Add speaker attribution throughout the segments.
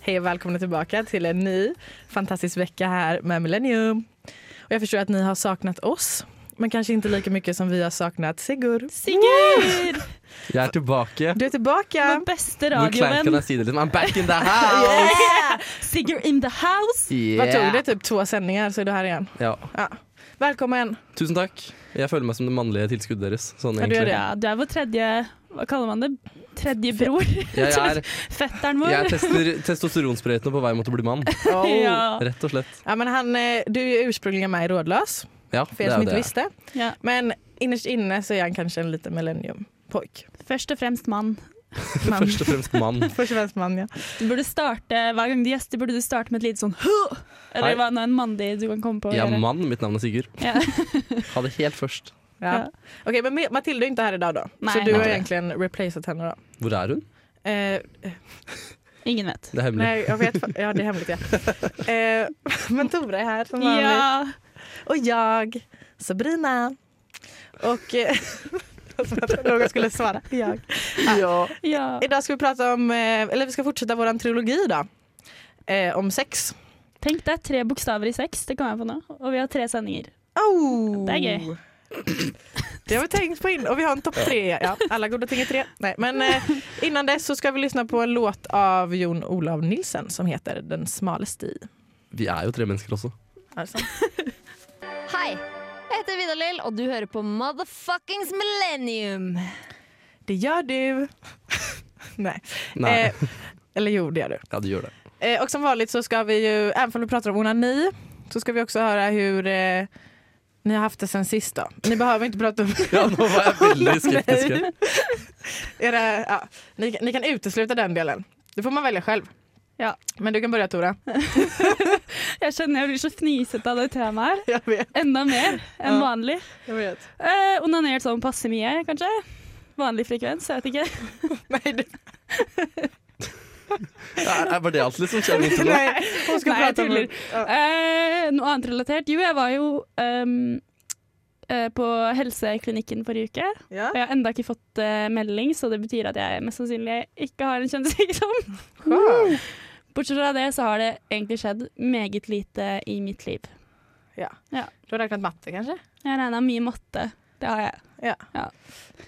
Speaker 1: Hej och välkomna tillbaka till en ny fantastisk vecka här med Millennium. Och jag förstår att ni har saknat oss, men kanske inte lika mycket som vi har saknat Sigurd.
Speaker 2: Sigurd!
Speaker 3: Jeg er tilbake.
Speaker 1: Du är tillbaka!
Speaker 2: Den bästa
Speaker 3: Hvor kleint kan
Speaker 2: radioen.
Speaker 3: jeg si det? liksom? I'm back in the house!
Speaker 2: Yeah! Sigurd in the house.
Speaker 1: Vad tog det?
Speaker 3: Yeah.
Speaker 1: Typ två sändningar så är du här igen.
Speaker 3: Ja.
Speaker 1: Ja. Välkommen!
Speaker 3: Tusen takk. Jeg føler meg som det mannlige tilskuddet deres. Sånn,
Speaker 1: Ja, du gjør
Speaker 3: egentlig.
Speaker 1: det.
Speaker 2: Ja, du er vår tredje Hva kaller man det? Tredje bror?
Speaker 3: Jeg, er,
Speaker 2: Fetteren vår.
Speaker 3: jeg tester testosteronsprøytene på vei mot å bli mann.
Speaker 1: Oh.
Speaker 2: Ja.
Speaker 3: Rett og slett.
Speaker 1: Ja, men han, eh, du är ju ursprungligen med i Rådlös,
Speaker 3: Ja,
Speaker 1: för
Speaker 3: det
Speaker 1: er som
Speaker 3: er
Speaker 1: inte
Speaker 3: det.
Speaker 1: visste.
Speaker 2: ja.
Speaker 1: Men innerst inne så är han kanske en liten millenniumpojk.
Speaker 2: Først og fremst mann. mann.
Speaker 3: Først og fremst mann.
Speaker 1: Först och främst man, ja.
Speaker 2: Du burde starte, Hver gang du gjester, burde du starte med et lite sånn «Huh!»
Speaker 3: Hei.
Speaker 2: Eller hva nå en mandig du kan komme på. å
Speaker 3: Jeg er
Speaker 2: gjøre.
Speaker 3: mann, mitt navn er Sigurd.
Speaker 2: Ja.
Speaker 3: Ha det helt først.
Speaker 1: ja.
Speaker 2: Ja.
Speaker 1: Okej, men Ma- Matilda är inte här idag då.
Speaker 2: Nej.
Speaker 1: så du har
Speaker 3: Nej.
Speaker 1: egentligen replaceat henne då.
Speaker 3: Hvor er hun?
Speaker 1: Eh,
Speaker 2: Ingen vet.
Speaker 3: Det er hemmelig.
Speaker 1: nej, jag vet. fa- Ja, det är hemligt. Ja. Eh, men Tora är här som vanligt.
Speaker 2: Ja.
Speaker 1: Och jag, Sabrina. Och... Eh, som att någon skulle svara. Jag.
Speaker 3: Ja.
Speaker 2: ja.
Speaker 1: Idag ska vi prata om, eh, eller vi ska fortsätta vår trilogi idag. Eh, om sex.
Speaker 2: Tenk, det er tre bokstaver i seks, det kom jeg på nå. Og vi har tre sendinger.
Speaker 1: Oh.
Speaker 2: Det är gøy.
Speaker 1: Det har vi tänkt på in. Och vi har en topp tre. Ja, alla goda ting är tre. Nej, men eh, innan dess så ska vi lyssna på en låt av Jon Olav Nilsen som heter Den smale sti.
Speaker 3: Vi er jo tre mennesker også.
Speaker 1: Alltså.
Speaker 4: Hei, jeg heter Vidar Lill, og du hører på Motherfuckings Millennium.
Speaker 1: Det gör du. Nej.
Speaker 3: Nei.
Speaker 1: Eh, eller jo, det gör du.
Speaker 3: Ja, du gjør det.
Speaker 1: Eh, och som vanligt så ska vi ju, även om vi pratar om onani, så ska vi också höra hur eh, ni har haft det sen sist då. Ni behöver inte prata om
Speaker 3: Ja, nå var jeg veldig skeptisk. her.
Speaker 1: Nej. Era, ja, ni, ni kan utesluta den delen. Det får man välja själv.
Speaker 2: Ja.
Speaker 1: Men du kan börja Tora.
Speaker 2: Jeg skjønner jeg blir så fnisete av det temaet her.
Speaker 1: Jag vet.
Speaker 2: Enda mer enn
Speaker 1: Ja.
Speaker 2: vanlig.
Speaker 1: Jag vet.
Speaker 2: Eh, onanert sånn passe mye, kanskje? Vanlig frekvens, jeg vet ikke.
Speaker 1: Nej, det,
Speaker 3: Er, er- var det alt liksom? Kjenner ikke noe?
Speaker 1: nej. Hon ska
Speaker 2: Nej,
Speaker 1: prata
Speaker 2: jag
Speaker 1: om...
Speaker 2: tuller.
Speaker 1: Ja.
Speaker 2: Eh, noe annet relatert? Jo, jeg var jo ehm, eh, på helseklinikken forrige uke.
Speaker 1: Ja.
Speaker 2: Og jeg har enda ikke fått eh, melding, så det betyr at jeg mest sannsynlig ikke har en kjønnssykdom.
Speaker 1: Skönt.
Speaker 2: Bortsett fra det så har det egentlig skjedd meget lite i mitt liv.
Speaker 1: Du har räknat matte kanske?
Speaker 2: Jeg regna mye matte. Det har jeg.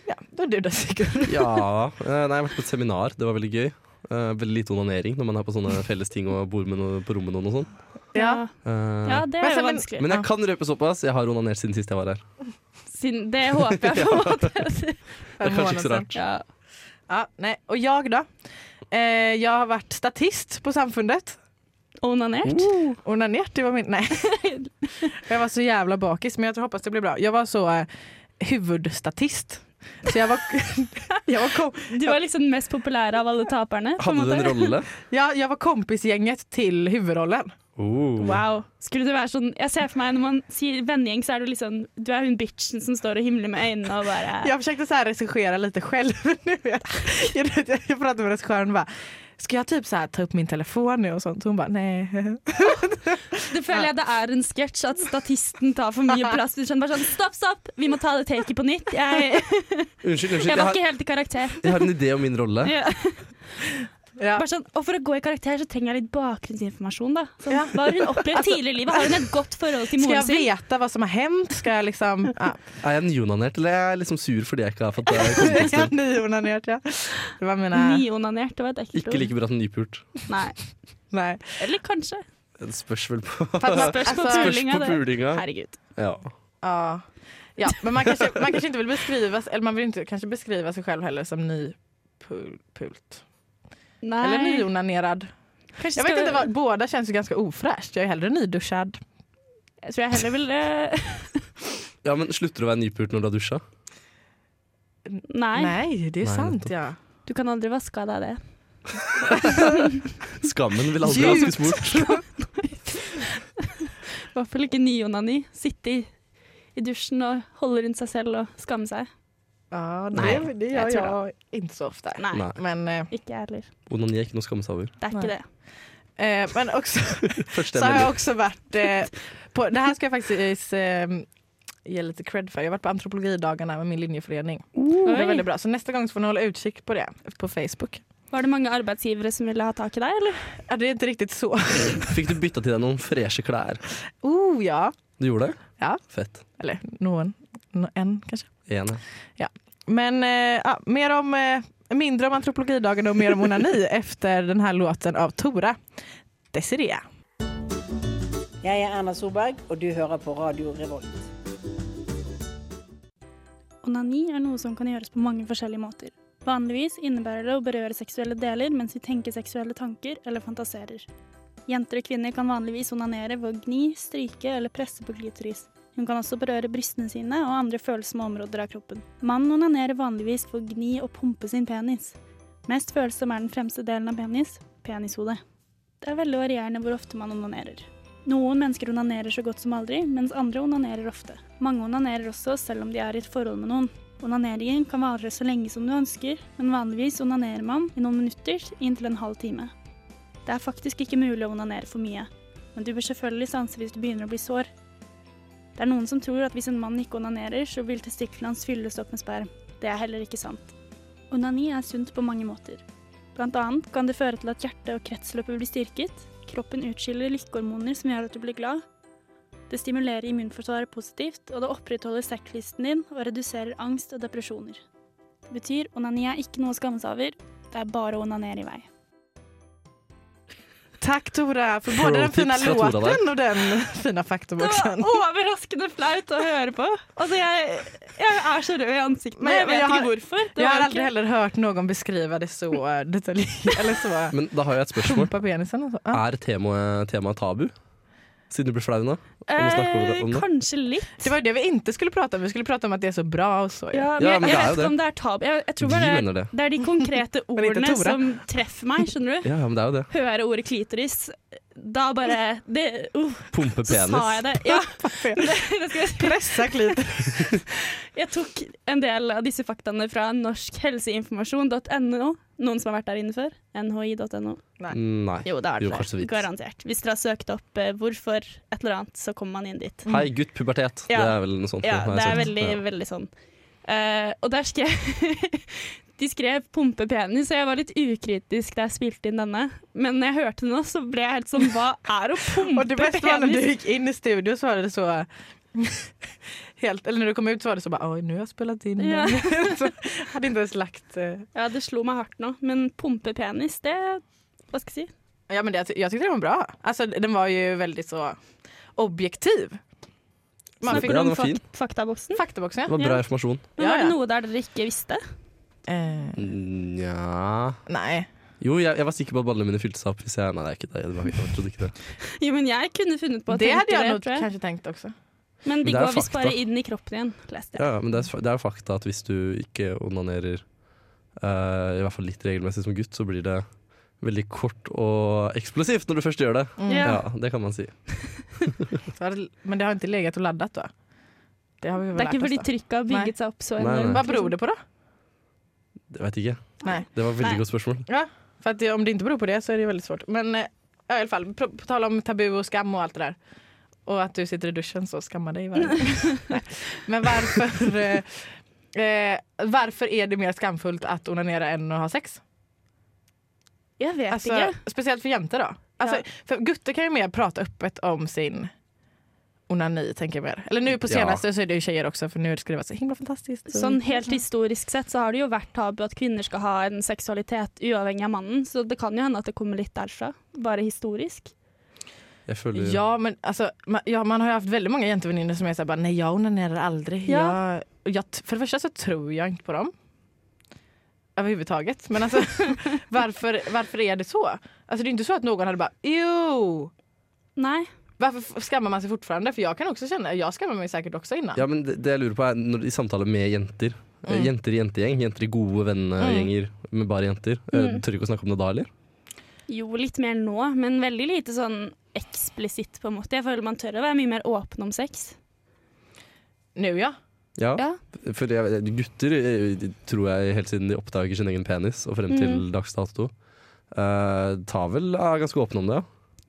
Speaker 1: Ja, då är du där säkert.
Speaker 3: Ja. eh, Nei, jeg har vært på et seminar. Det var veldig gøy. Eh, Veldig lite onanering når man er på sånne felles ting og bor med noe, på rommet med noen og sånn.
Speaker 1: Ja.
Speaker 3: Eh,
Speaker 2: Ja, det
Speaker 1: Men
Speaker 2: er
Speaker 1: så-
Speaker 2: jo
Speaker 1: men-
Speaker 2: vanskelig.
Speaker 3: Men jeg kan røpe såpass. Jeg har onanert siden sist jeg var her.
Speaker 2: Siden, det håper jeg på en måte.
Speaker 3: Det er kanskje ikke så rart.
Speaker 2: ja.
Speaker 1: Ja, nej. Och jag då? Eh, jag har varit statist på samfundet.
Speaker 2: Onanert?
Speaker 1: Onanerat, det var min... Nej. jag var så jävla bakis, men jag tror, hoppas det blir bra. Jag var så eh, huvudstatist. Så jag var... jag var kom...
Speaker 2: Du var liksom den mest populære av alle taperne. på en
Speaker 3: Hadde du en
Speaker 2: måte.
Speaker 3: rolle?
Speaker 1: Ja, jag var kompisgänget till huvudrollen.
Speaker 3: Oh.
Speaker 2: Wow. Skulle du være sånn Jeg ser for meg når man sier vennegjeng, så er du liksom Du er hun bitchen som står og himler med øynene og bare
Speaker 1: Jag försökte så här regissera lite själv. Nu. Jag, jag, vet, jag pratade med regissören och bara, ska jag typ så här ta upp min telefon nu och sånt? Hon bara, nej.
Speaker 2: Det føler jeg det er en sketsj at statisten tar for mye plass. Du skjønner bare sånn Stopp, stopp! Vi må ta det taket på nytt. Jeg,
Speaker 3: Unnskyld, unnskyld.
Speaker 2: jeg
Speaker 3: Jeg
Speaker 2: var
Speaker 3: har,
Speaker 2: ikke helt i karakter.
Speaker 3: jeg har en idé om min rolle.
Speaker 2: Ja.
Speaker 1: Ja.
Speaker 2: Bare sånn, og for å gå i karakter så trenger jeg litt bakgrunnsinformasjon, da. Sånn,
Speaker 1: Ja.
Speaker 2: Hva har hun opplevd tidligere i livet? Har hun et godt forhold til
Speaker 1: Ska jag
Speaker 2: moren sin?
Speaker 1: veta vad som har hänt? Ska jag liksom... Ja.
Speaker 3: Er jeg nyonanert, eller er jeg liksom sur fordi jag ikke har fått eh, kompis
Speaker 1: Jag
Speaker 3: til?
Speaker 1: nyonanerat ja. Det var mina...
Speaker 2: Nyonanert, det var et ekkelt
Speaker 3: Ikke like bra som nypult.
Speaker 2: ord. Nei.
Speaker 1: Nej.
Speaker 2: Eller kanskje.
Speaker 3: Det Spørs vel på
Speaker 1: Fast man,
Speaker 2: Spørs på
Speaker 1: alltså,
Speaker 2: tur.
Speaker 3: Spørs på
Speaker 2: det.
Speaker 3: pulinga.
Speaker 2: Herregud.
Speaker 3: Ja.
Speaker 1: ja. Ja, men man kanske, man kanske inte vill beskrivas, eller man vill inte kanske beskriva sig själv heller som nypult.
Speaker 2: Nei.
Speaker 1: Eller nyonanerad.
Speaker 2: Kanskje
Speaker 1: Jag
Speaker 2: skal
Speaker 1: vet inte, vad, båda känns ju ganska ofräscht. Jag är hellre nyduschad.
Speaker 2: Jeg tror jeg heller vil eh,
Speaker 3: ja, men slutter du å være nypult når du har dusja?
Speaker 2: Nei.
Speaker 1: Nej, det är
Speaker 3: Nej,
Speaker 1: sant
Speaker 3: nettopp.
Speaker 1: ja.
Speaker 2: Du kan aldri vaske av deg det.
Speaker 3: Skammen vil aldri vaskes bort.
Speaker 2: I hvert fall ikke nyonani. Sitte i, i dusjen og holde rundt seg selv och skamme seg.
Speaker 1: Ja,
Speaker 3: Nej,
Speaker 1: det, det
Speaker 2: jag
Speaker 1: gör
Speaker 2: tror
Speaker 1: jag, inte så ofta.
Speaker 2: Nei.
Speaker 3: Nei.
Speaker 1: Men, eh,
Speaker 2: Ikke jeg heller.
Speaker 3: Onani er ikke noe å skamme seg over.
Speaker 2: Det er ikke
Speaker 1: Nei.
Speaker 2: det.
Speaker 1: eh, men også
Speaker 3: Første
Speaker 1: så har jag
Speaker 3: jeg
Speaker 1: också varit eh, på, det här ska jag faktiskt eh, ge lite cred för. Jag har varit på antropologidagarna med min linjeförening. Det var
Speaker 2: Oi.
Speaker 1: väldigt bra. Så nästa gång så får ni hålla utkik på det på Facebook.
Speaker 2: Var det mange arbeidsgivere som ville ha tak i deg, eller?
Speaker 1: Ja, det är inte riktigt så.
Speaker 3: Fikk du bytta til deg noen freshe klær?
Speaker 1: Oh ja.
Speaker 3: Du gjorde det?
Speaker 1: Ja.
Speaker 3: Fett.
Speaker 1: Eller någon. Nå- En kanske.
Speaker 3: En, ja.
Speaker 1: Men eh, ja, mer om, eh, mindre om antropologidagen og mer om onani efter den här låten av Tora. Desiree.
Speaker 5: Jeg er Erna Solberg, og du hører på Radio Revolt.
Speaker 2: Onani er noe som kan gjøres på mange forskjellige måter. Vanligvis innebærer det å berøre seksuelle deler mens vi tenker seksuelle tanker eller fantaserer. Jenter og kvinner kan vanligvis onanere ved å gni, stryke eller presse på klitoris. Hun kan også berøre brystene sine og andre følsomme områder av kroppen. Mannen onanerer vanligvis ved å gni og pumpe sin penis. Mest følsom er den fremste delen av penis, penishodet. Det er veldig varierende hvor ofte man onanerer. Noen mennesker onanerer så godt som aldri, mens andre onanerer ofte. Mange onanerer også selv om de er i et forhold med noen. Onaneringen kan vare så lenge som du ønsker, men vanligvis onanerer man i noen minutter inntil en halv time. Det er faktisk ikke mulig å onanere for mye, men du bør selvfølgelig stanse hvis du begynner å bli sår. Det er noen som tror at hvis en mann ikke onanerer, så vil testiklene hans fylles opp med sperm. Det er heller ikke sant. Onani er sunt på mange måter. Blant annet kan det føre til at hjertet og kretsløpet blir styrket, kroppen utskiller lykkehormoner som gjør at du blir glad, det stimulerer immunforsvaret positivt, og det opprettholder sekklisten din og reduserer angst og depresjoner. Det betyr onani er ikke noe å skamme seg over, det er bare å onanere i vei.
Speaker 1: Tack Tora för både den
Speaker 3: Pro-tips
Speaker 1: fina
Speaker 3: fra Tora der.
Speaker 1: låten och den fina faktaboxen.
Speaker 2: overraskende flaut å høre på. Altså, jeg, jeg er så rød i ansiktet,
Speaker 1: Men- men jeg har-
Speaker 2: hvorfor.
Speaker 1: Jag har aldrig heller hört någon beskriva det så eh, detaljerat eller så.
Speaker 3: Men da har jeg et spørsmål.
Speaker 1: Pumpa penisen och så. Ja.
Speaker 3: Er temaet, temaet tabu? Siden du blir flau nå? Kan vi snakke om det- om det?
Speaker 2: Eh, kanskje litt.
Speaker 1: Det var det vi inte skulle prata om. Vi skulle prata om att det är så bra och så.
Speaker 2: Ja, men
Speaker 3: Ja,
Speaker 2: jeg,
Speaker 3: men
Speaker 2: jeg
Speaker 3: det
Speaker 2: vet
Speaker 3: er jo det.
Speaker 2: ikke om det er tab. Jeg, jeg tror
Speaker 3: Vi
Speaker 2: bare det
Speaker 3: mener
Speaker 2: er,
Speaker 3: det.
Speaker 2: det er de konkrete
Speaker 1: Men ikke
Speaker 2: ordene
Speaker 1: Tora.
Speaker 2: som treffer meg, skjønner du.
Speaker 3: Ja, men det er jo det.
Speaker 2: Hører ordet klitoris, da bare det, uh,
Speaker 3: Pumpe
Speaker 2: Så
Speaker 3: penis.
Speaker 2: sa jeg det. Ja,
Speaker 1: Papper.
Speaker 2: det, det skal jeg si.
Speaker 1: Pressa klitoris.
Speaker 2: Jeg tok en del av disse faktaene fra norskhelseinformasjon.no. Noen som har vært der inne før? NHI.no.
Speaker 3: Mm, Nei.
Speaker 2: Jo, det har
Speaker 3: Jo,
Speaker 2: det.
Speaker 3: kanskje så vidt.
Speaker 2: Garantert. Hvis dere har søkt opp eh, 'hvorfor et eller annet', så kommer man inn dit.
Speaker 3: Hei, gutt, pubertet.
Speaker 2: Ja.
Speaker 3: Det er vel noe sånt.
Speaker 2: Ja,
Speaker 3: har jeg
Speaker 2: det er
Speaker 3: sett.
Speaker 2: veldig,
Speaker 3: Mm. Ja.
Speaker 2: veldig sånn. Eh, og der skrev De skrev 'pumpe penis', og jeg var litt ukritisk da jeg spilte inn denne. Men når jeg hørte den nå, så ble jeg helt sånn Hva er å
Speaker 1: Och det
Speaker 2: pumpe
Speaker 1: bästa var när du
Speaker 2: penis?
Speaker 1: gick in i studion så var det så helt, eller när du kom ut så var det så bara oj nu har jag spelat in den.
Speaker 2: Ja.
Speaker 1: så hade inte ens lagt eh,
Speaker 2: Ja, det slo meg hardt nå, men pumpe penis, det Hva skal jeg si?
Speaker 1: Ja men det, jag tyckte den var bra. Alltså den var ju väldigt så objektiv. Man fick
Speaker 2: Snakker du om
Speaker 3: den var fin.
Speaker 2: fak faktaboksen?
Speaker 1: faktaboxen
Speaker 3: Det
Speaker 1: ja.
Speaker 3: var bra informasjon.
Speaker 2: Men
Speaker 1: Ja,
Speaker 2: var det
Speaker 1: ja.
Speaker 2: noe der dere ikke visste?
Speaker 1: Eh,
Speaker 3: Nja
Speaker 1: nej.
Speaker 3: Mm, Jo, jeg, jeg var sikker på at ballene mine fylte seg opp. Hvis jeg, nei, det er ikke det. Jeg, bare, jeg trodde ikke det.
Speaker 2: Jo, men jeg kunne funnet på å
Speaker 1: Det
Speaker 2: tenke
Speaker 1: hade jag
Speaker 2: det,
Speaker 1: nog
Speaker 2: tror jeg.
Speaker 1: kanske tänkt också.
Speaker 2: Men de
Speaker 3: Det er
Speaker 2: går visst
Speaker 3: fakta.
Speaker 2: bare inn i kroppen igjen, leste jeg.
Speaker 3: Ja, ja, men det er, det er jo fakta at hvis du ikke onanerer eh, i hvert fall litt regelmessig som gutt, så blir det veldig kort og eksplosivt når du først gjør det.
Speaker 2: Ja.
Speaker 3: Ja, det kan man si.
Speaker 1: Så har det- Men det har inte legat och laddat då? Det har vi väl
Speaker 2: Det er
Speaker 1: lärt
Speaker 2: ikke
Speaker 1: oss
Speaker 2: fordi
Speaker 1: då.
Speaker 2: trykket har
Speaker 1: Nei.
Speaker 2: bygget seg opp så
Speaker 3: Nei, nei.
Speaker 2: enormt.
Speaker 1: Vad beror det på då?
Speaker 3: Jeg vet ikke.
Speaker 1: Nej.
Speaker 3: Det var et veldig
Speaker 2: Nei.
Speaker 3: godt spørsmål.
Speaker 1: Ja, för att det, om det inte beror på det så är det väldigt svårt. Men eh, ja, i alla fall, på, på tal om tabu och skam och allt det där. Och att du sitter i duschen så skammar dig varje dag. Nej. Men varför, eh, eh, varför är det mer skamfullt att onanera än att ha sex?
Speaker 2: Jeg vet
Speaker 1: Alltså,
Speaker 2: ikke.
Speaker 1: speciellt för jenter då. Alltså, För gutter kan ju mer prata öppet om sin onani, tänker jag mer. Eller nu på
Speaker 3: Ja.
Speaker 1: senaste så är det ju tjejer också för nu är det skrivet så himla fantastiskt.
Speaker 2: Sånn helt historisk sett så har det jo vært tabu at kvinner skal ha en seksualitet uavhengig av mannen, så det kan jo hende at det kommer litt derfra. Bare historisk.
Speaker 3: Jeg føler
Speaker 1: Ja, men alltså, man, ja, man har ju haft väldigt många jänteväninnor som är såhär, bara, nej jag onanerar aldrig.
Speaker 2: Ja.
Speaker 1: Jag, och jag, för det första så tror jag inte på dem. Överhuvudtaget. Men alltså, varför, varför är det så? Alltså det är inte så att någon hade bara, jo!
Speaker 2: Nei.
Speaker 1: Varför f- skammar man sig fortfarande? För jag kan också känna, jag skammar mig säkert också innan.
Speaker 3: Ja, men det, det jeg lurer på er når, i samtale med jenter. eh, Jenter i jentegjeng. Jenter i gode vennegjenger med bare jenter. Eh, Tør du ikke å snakke om det da, eller?
Speaker 2: Jo, litt mer nå, men veldig lite sånn eksplisitt, på en måte. Jeg føler man tør å være mye mer åpen om sex.
Speaker 1: Nu ja.
Speaker 3: Ja.
Speaker 2: Ja.
Speaker 3: For jeg, gutter eh, de- tror jeg helt siden de oppdager sin egen penis, og frem til dags dato, eh, tar vel er ganske åpne om det.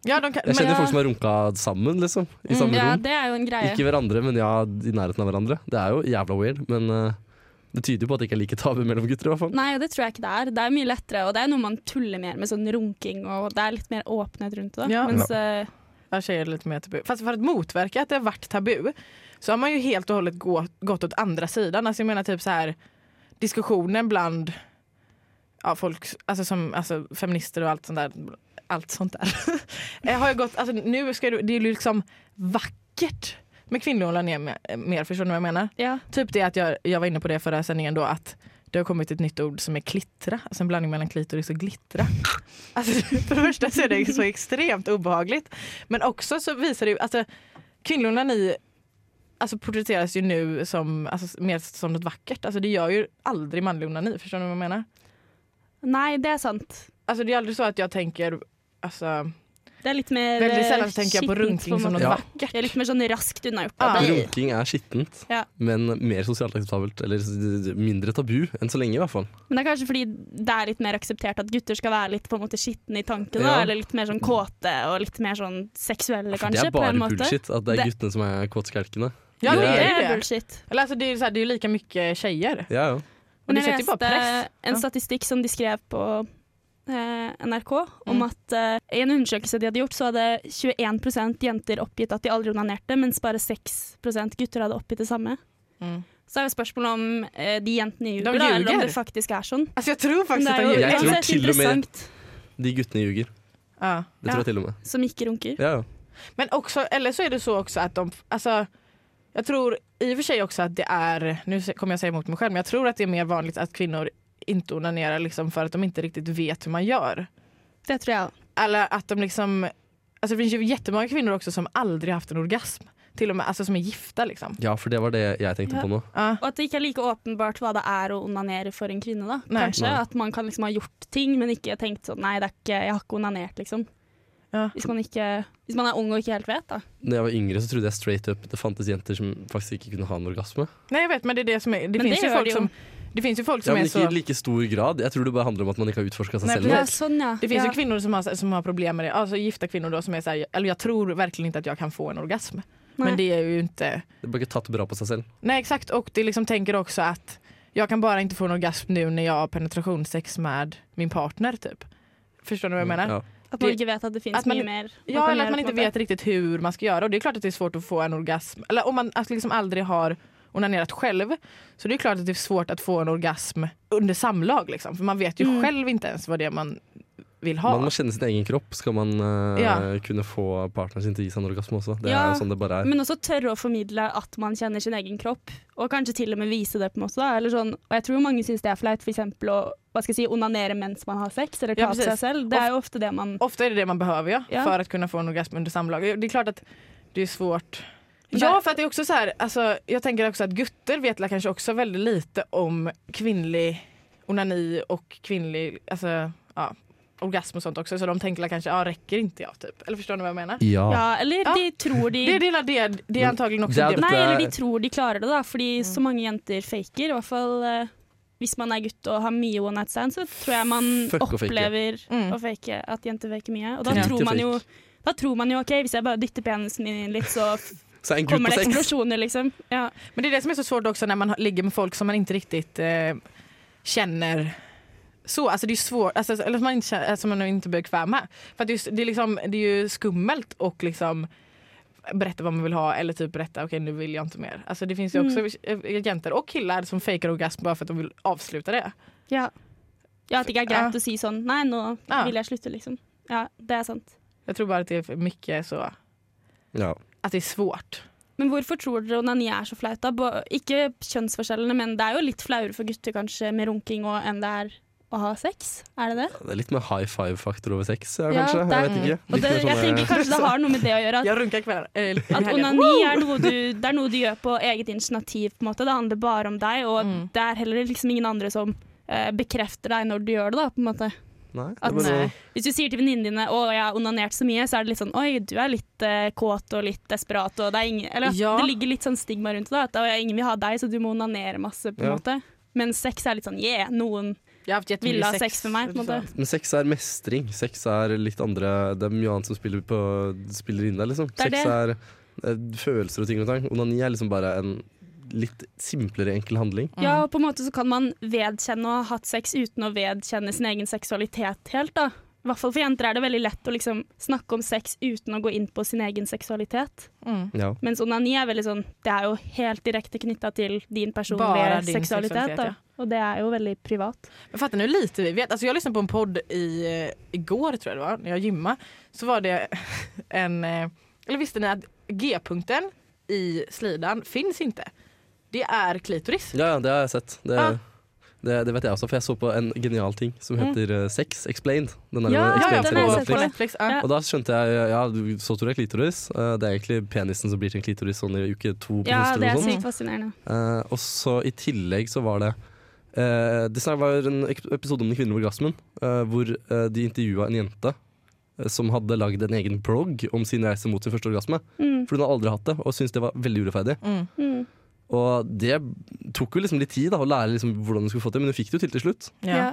Speaker 3: ja.
Speaker 1: ja de kan,
Speaker 3: Jeg kjenner
Speaker 1: ja,
Speaker 3: folk som har runka sammen, liksom. I samme
Speaker 2: Mm, Ja,
Speaker 3: rom.
Speaker 2: det er jo en greie.
Speaker 3: Ikke hverandre, men ja, i nærheten av hverandre. Det er jo jævla weird, men eh, Det tyder jo på at det ikke er like tabu mellom gutter. i hvert fall.
Speaker 2: Nei, og det tror jeg ikke det er. Det er mye lettere, og det er noe man tuller mer med, sånn runking, og det er litt mer åpenhet rundt det. da.
Speaker 1: Ja.
Speaker 2: Mens eh,
Speaker 1: Ja, tjejer är lite mer tabu. Fast för att motverka att det har varit tabu så har man ju helt och hållet gå- gått åt andra sidan. Alltså jag menar typ så här diskussionen bland ja, folk, alltså som alltså feminister och allt sånt där. Allt sånt där. Eh, har jag gått, alltså nu ska du, det är ju liksom vackert med kvinnohålla ner med, mer, förstår ni vad jag menar?
Speaker 2: ja.
Speaker 1: Typ det att jag, jag var inne på det förra sändningen då att det har kommit ett nytt ord som är klittra, alltså en blandning mellan klitoris och glittra. Alltså, för det första så är det så extremt obehagligt. Men också så visar det ju, alltså kvinnorna ni alltså porträtteras ju nu som, alltså, mer som något vackert. Alltså det gör ju aldrig manlig onani, förstår ni vad jag menar?
Speaker 2: Nei, det er sant.
Speaker 1: Alltså det är aldrig så att jag tänker, alltså
Speaker 2: Det er litt mer
Speaker 1: väldigt
Speaker 2: eh,
Speaker 1: sällan så tänker jag på
Speaker 2: skittent,
Speaker 1: runking som Ah.
Speaker 2: en
Speaker 1: något
Speaker 2: måte.
Speaker 3: Ja.
Speaker 1: vackert.
Speaker 2: Det er litt mer sånn raskt unnagjort.
Speaker 1: Ja.
Speaker 2: da. Det-
Speaker 3: Runking er skittent,
Speaker 2: Ja.
Speaker 3: men mer sosialt akseptabelt. Eller s- mindre tabu, enn så lenge i hvert fall.
Speaker 2: Men det er kanskje fordi det er litt mer akseptert at gutter skal være litt på en måte skitne i tanken, da,
Speaker 3: Ja.
Speaker 2: eller litt mer sånn kåte og litt mer sånn seksuelle,
Speaker 3: For
Speaker 2: kanskje,
Speaker 3: det er
Speaker 2: på
Speaker 3: bare
Speaker 2: en måte.
Speaker 3: bullshit at det er
Speaker 2: Det-
Speaker 3: guttene som er kåtskalkene.
Speaker 1: Ja det
Speaker 2: det
Speaker 1: är
Speaker 2: er
Speaker 1: ju det.
Speaker 2: bullshit.
Speaker 1: Eller alltså det är ju så här, det är ju lika mycket tjejer.
Speaker 3: Ja, ja.
Speaker 1: Och det
Speaker 2: Men jeg
Speaker 1: sätter ju bara
Speaker 2: leste
Speaker 1: press.
Speaker 2: en
Speaker 1: Ja.
Speaker 2: statistikk som de skrev på eh, NRK, om
Speaker 1: Mm.
Speaker 2: at eh, i en undersøkelse de hadde gjort, så hadde 21 jenter oppgitt at de aldri onanerte, mens bare 6 gutter hadde oppgitt det samme.
Speaker 1: Mm.
Speaker 2: Så er jo spørsmålet om eh, de jentene
Speaker 1: De
Speaker 2: ljuger, da, eller om
Speaker 1: ljuger.
Speaker 2: det faktisk er sånn.
Speaker 1: Alltså jag tror
Speaker 2: Men
Speaker 1: faktiskt
Speaker 2: det
Speaker 1: att
Speaker 2: er
Speaker 1: han
Speaker 2: jo
Speaker 1: gör
Speaker 3: Jeg tror
Speaker 2: uansett
Speaker 3: til og med-
Speaker 2: interessant,
Speaker 3: De guttene ljuger.
Speaker 1: Ja.
Speaker 3: Det tror jeg til og med.
Speaker 2: som ikke runker.
Speaker 3: Ja, ja.
Speaker 1: Men också, eller så är det så också att de, alltså jag tror i och för sig också att det är, nu kommer jag säga emot mig själv, men jag tror att det är mer vanligt att kvinnor inte onanerar liksom för att de inte riktigt vet hur man gör.
Speaker 2: Det tror jag òg.
Speaker 1: Eller att de liksom, alltså det finns ju jättemånga kvinnor också som aldrig haft en orgasm. Till och med, alltså som är gifta liksom.
Speaker 3: ja, for det var det jeg tenkte
Speaker 2: Ja.
Speaker 3: på nå.
Speaker 1: Ja.
Speaker 2: Og at det ikke er like åpenbart hva det er å onanere for en kvinne. da.
Speaker 1: Nei.
Speaker 2: Kanskje
Speaker 3: Nei.
Speaker 2: At man kan liksom ha gjort ting, men ikke tenkt sånn Nei, det er ikke, jeg har ikke onanert, liksom.
Speaker 1: Ja.
Speaker 2: Hvis, man ikke, hvis man er ung og ikke helt vet, da.
Speaker 3: Når jeg var yngre, så trodde jeg straight up det fantes jenter som faktisk ikke kunne ha en orgasme.
Speaker 1: Nej jag vet men det är det som är, det
Speaker 2: Men
Speaker 1: finns
Speaker 2: det
Speaker 1: ju
Speaker 2: gör
Speaker 1: folk
Speaker 2: det ju.
Speaker 1: som, det finns ju folk
Speaker 3: Ja,
Speaker 1: som
Speaker 3: men
Speaker 1: är
Speaker 3: ikke
Speaker 1: så
Speaker 3: i like stor grad. Jeg tror det bare handler om at man ikke har utforska seg
Speaker 1: Nei,
Speaker 3: selv
Speaker 1: Ja,
Speaker 3: nok.
Speaker 1: precis.
Speaker 2: sånn, ja.
Speaker 1: det finns
Speaker 2: ja.
Speaker 1: ju kvinnor som har, som har problem med det, alltså gifta kvinnor då som är så här, eller jag tror verkligen inte att jag kan få en orgasm.
Speaker 2: Nei.
Speaker 1: Men det er ju inte
Speaker 3: Det blir ikke tatt bra på seg selv.
Speaker 1: Nej exakt och det liksom tänker också att jag kan bara inte få en orgasm nu när jag har penetrationssex med min partner typ. Förstår ni vad jag menar?
Speaker 3: Mm, Ja.
Speaker 2: At man
Speaker 1: det-
Speaker 2: ikke vet at det
Speaker 1: at
Speaker 2: finnes
Speaker 1: man-
Speaker 2: mye mer.
Speaker 1: Ja
Speaker 2: kan
Speaker 1: eller
Speaker 2: gjøre,
Speaker 1: att man
Speaker 2: på
Speaker 1: inte
Speaker 2: en måte.
Speaker 1: vet riktigt hur man ska göra och det är klart att det är svårt att få en orgasm. Eller om man alltså, liksom aldrig har onanerat själv så det är klart att det är svårt att få en orgasm under samlag liksom. För man vet ju
Speaker 2: Mm.
Speaker 1: själv inte ens vad det är man vill ha.
Speaker 3: Man må kjenne sin egen kropp skal man eh,
Speaker 1: Ja.
Speaker 3: kunne få partneren sin til å gi seg en orgasme også. Det
Speaker 2: Ja,
Speaker 3: er jo sånn det bare er.
Speaker 2: Men også tørre å formidle at man kjenner sin egen kropp, og kanskje til og med vise det. på en måte da. Eller sånn, og jeg tror mange syns det er flaut, f.eks. å hva skal jeg si, onanere mens man har sex, eller ta
Speaker 1: Ja,
Speaker 2: av
Speaker 1: precis.
Speaker 2: seg selv. Det er jo ofte det man
Speaker 1: Ofta är det det man behöver ja,
Speaker 2: Ja.
Speaker 1: för att kunna få en orgasm under samlag. Det är klart att det är svårt.
Speaker 2: Men
Speaker 1: ja,
Speaker 2: där-
Speaker 1: för att det är också så här, alltså, jag tänker också att gutter vet väl kanske också väldigt lite om kvinnlig onani och kvinnlig alltså, ja, orgasm och sånt också. Så de tänker väl kanske, ja räcker inte jag typ? Eller förstår ni vad jag menar?
Speaker 3: Ja.
Speaker 2: Ja, eller
Speaker 1: Ja.
Speaker 2: de tror de
Speaker 1: Det är, det, hela det, det är
Speaker 3: Men
Speaker 1: antagligen också
Speaker 3: det är
Speaker 1: det.
Speaker 3: det-
Speaker 2: Nei,
Speaker 3: Dette-
Speaker 2: eller de tror de klarer det, da, fordi så mange jenter faker. I hvert fall eh, hvis man er gutt og har mye one night stand, så tror jeg man
Speaker 3: Fuck å fake.
Speaker 2: opplever
Speaker 1: Mm.
Speaker 2: å fake at jenter faker mye. Og da
Speaker 3: Drit i
Speaker 2: tror man jo
Speaker 3: fake.
Speaker 2: da tror man jo OK, hvis jeg bare dytter penisen min inn litt, så
Speaker 3: Så er en gutt
Speaker 2: kommer
Speaker 3: på
Speaker 2: det
Speaker 3: sex.
Speaker 2: eksplosjoner, liksom. Ja.
Speaker 1: Men det är det som är så svårt också när man har- ligger med folk som man inte riktigt eh, känner så. Alltså det är svårt, alltså, eller som man inte, känner, som man inte är bekväm med. För att det, är, s- det, är liksom, det är ju skummelt och liksom berätta vad man vill ha eller typ berätta okej nu vill jag inte mer. Alltså det finns ju
Speaker 2: Mm.
Speaker 1: också eh, jenter och killar som fejkar orgasm bara för att de vill avsluta det.
Speaker 2: Ja. ja, at det ikke er greit å si sånn Nei, nå
Speaker 1: Ja.
Speaker 2: vil jeg slutte, liksom. Ja, det er sant.
Speaker 1: Jag tror bara att det är för mycket så
Speaker 3: Ja.
Speaker 1: att det är svårt.
Speaker 2: Men hvorfor tror dere onani er så flaut, da? Bo- Ikke kjønnsforskjellene, men det er jo litt flauere for gutter kanskje med runking og enn det er å ha sex? Er det det?
Speaker 3: Det er litt mer high five-faktor over sex, ja,
Speaker 2: Ja,
Speaker 3: kanskje.
Speaker 2: det er-
Speaker 3: jeg vet ikke.
Speaker 2: Og
Speaker 3: Litt
Speaker 2: det, jeg
Speaker 3: mer sånn,
Speaker 2: tenker
Speaker 3: eh,
Speaker 2: kanskje det har noe med det å gjøre. At,
Speaker 1: Jag runkar kvällar. eh, i
Speaker 2: at
Speaker 1: helgen.
Speaker 2: onani er noe du, det er noe du gjør på eget initiativ. på en måte. Det handler bare om deg, og
Speaker 1: Mm.
Speaker 2: det er heller liksom ingen andre som eh, bekrefter deg når du gjør det. da, på en måte.
Speaker 3: Nei, det
Speaker 2: At-
Speaker 3: er bare,
Speaker 1: Nei.
Speaker 2: Hvis du sier til venninnene dine 'Å, jeg har onanert så mye', så er det litt sånn 'Oj, du er litt eh, kåt og litt desperat', og det er ingen Eller at
Speaker 1: Ja.
Speaker 2: det ligger litt sånn stigma rundt det. da, At «Å, ingen vil ha deg, så du må onanere masse, på en
Speaker 3: Ja.
Speaker 2: måte. Men sex er litt sånn 'yeah', noen
Speaker 1: Jag har haft jättemycket
Speaker 2: ville ha sex med meg. på en måte.
Speaker 3: men sex er mestring. Sex er litt andre Det er mye annet som spiller, på, spiller inn der, liksom.
Speaker 2: er
Speaker 3: sex er eh, følelser og ting og tang. Onani er liksom bare en litt simplere enkel handling.
Speaker 2: Ja,
Speaker 1: Mm.
Speaker 2: og på en måte så kan man vedkjenne å ha hatt sex uten å vedkjenne sin egen seksualitet helt, da. I hvert fall for jenter er det veldig lett å liksom snakke om sex uten å gå inn på sin egen seksualitet.
Speaker 1: Mm.
Speaker 3: Ja.
Speaker 2: Mens onani er veldig sånn Det er jo helt direkte knytta til din personlige
Speaker 1: Bare din
Speaker 2: seksualitet,
Speaker 1: seksualitet,
Speaker 2: da.
Speaker 1: ja.
Speaker 2: Og det er jo veldig privat.
Speaker 1: Men fattar ni hur lite vi vet? Alltså jag lyssnade på en podd i, eh, igår tror jag det var, när jag gymmade. Så var det en... eh, Eller visste ni att G-punkten i slidan finns inte? Det är klitoris.
Speaker 3: Ja, ja, det har jeg sett. Det,
Speaker 1: Ah.
Speaker 3: det, det vet jeg også, for jeg så på en genial ting som heter eh, Sex Explained. Den er
Speaker 2: Mm.
Speaker 3: jo
Speaker 2: Ja,
Speaker 1: Ja,
Speaker 2: ja,
Speaker 3: en
Speaker 1: ja,
Speaker 2: den har
Speaker 3: Explained-serie
Speaker 2: jeg
Speaker 1: på,
Speaker 3: på
Speaker 2: sett på.
Speaker 1: på
Speaker 3: Netflix.
Speaker 1: Netflix. Ja.
Speaker 2: Ja.
Speaker 3: Og da skjønte jeg ja, du så tror jeg klitoris. Eh, Det er egentlig penisen som blir til en klitoris sånn i uke to på
Speaker 2: Ja,
Speaker 3: foster
Speaker 2: det
Speaker 3: og
Speaker 2: er
Speaker 3: sånn.
Speaker 2: sykt fascinerende.
Speaker 3: Eh, og så i tillegg så var det eh, Det snak- var en ek- episode om Den kvinnelige orgasmen eh, hvor eh, de intervjua en jente eh, som hadde lagd en egen blogg om sin reise mot sin første orgasme.
Speaker 2: Mm,
Speaker 3: For hun har aldri hatt det, og syntes det var veldig urettferdig.
Speaker 1: Mm.
Speaker 2: mm.
Speaker 3: Og det tok jo liksom litt tid da, å lære liksom hvordan hun skulle få til, men hun fikk det jo til til slutt.
Speaker 1: Ja.
Speaker 2: Ja.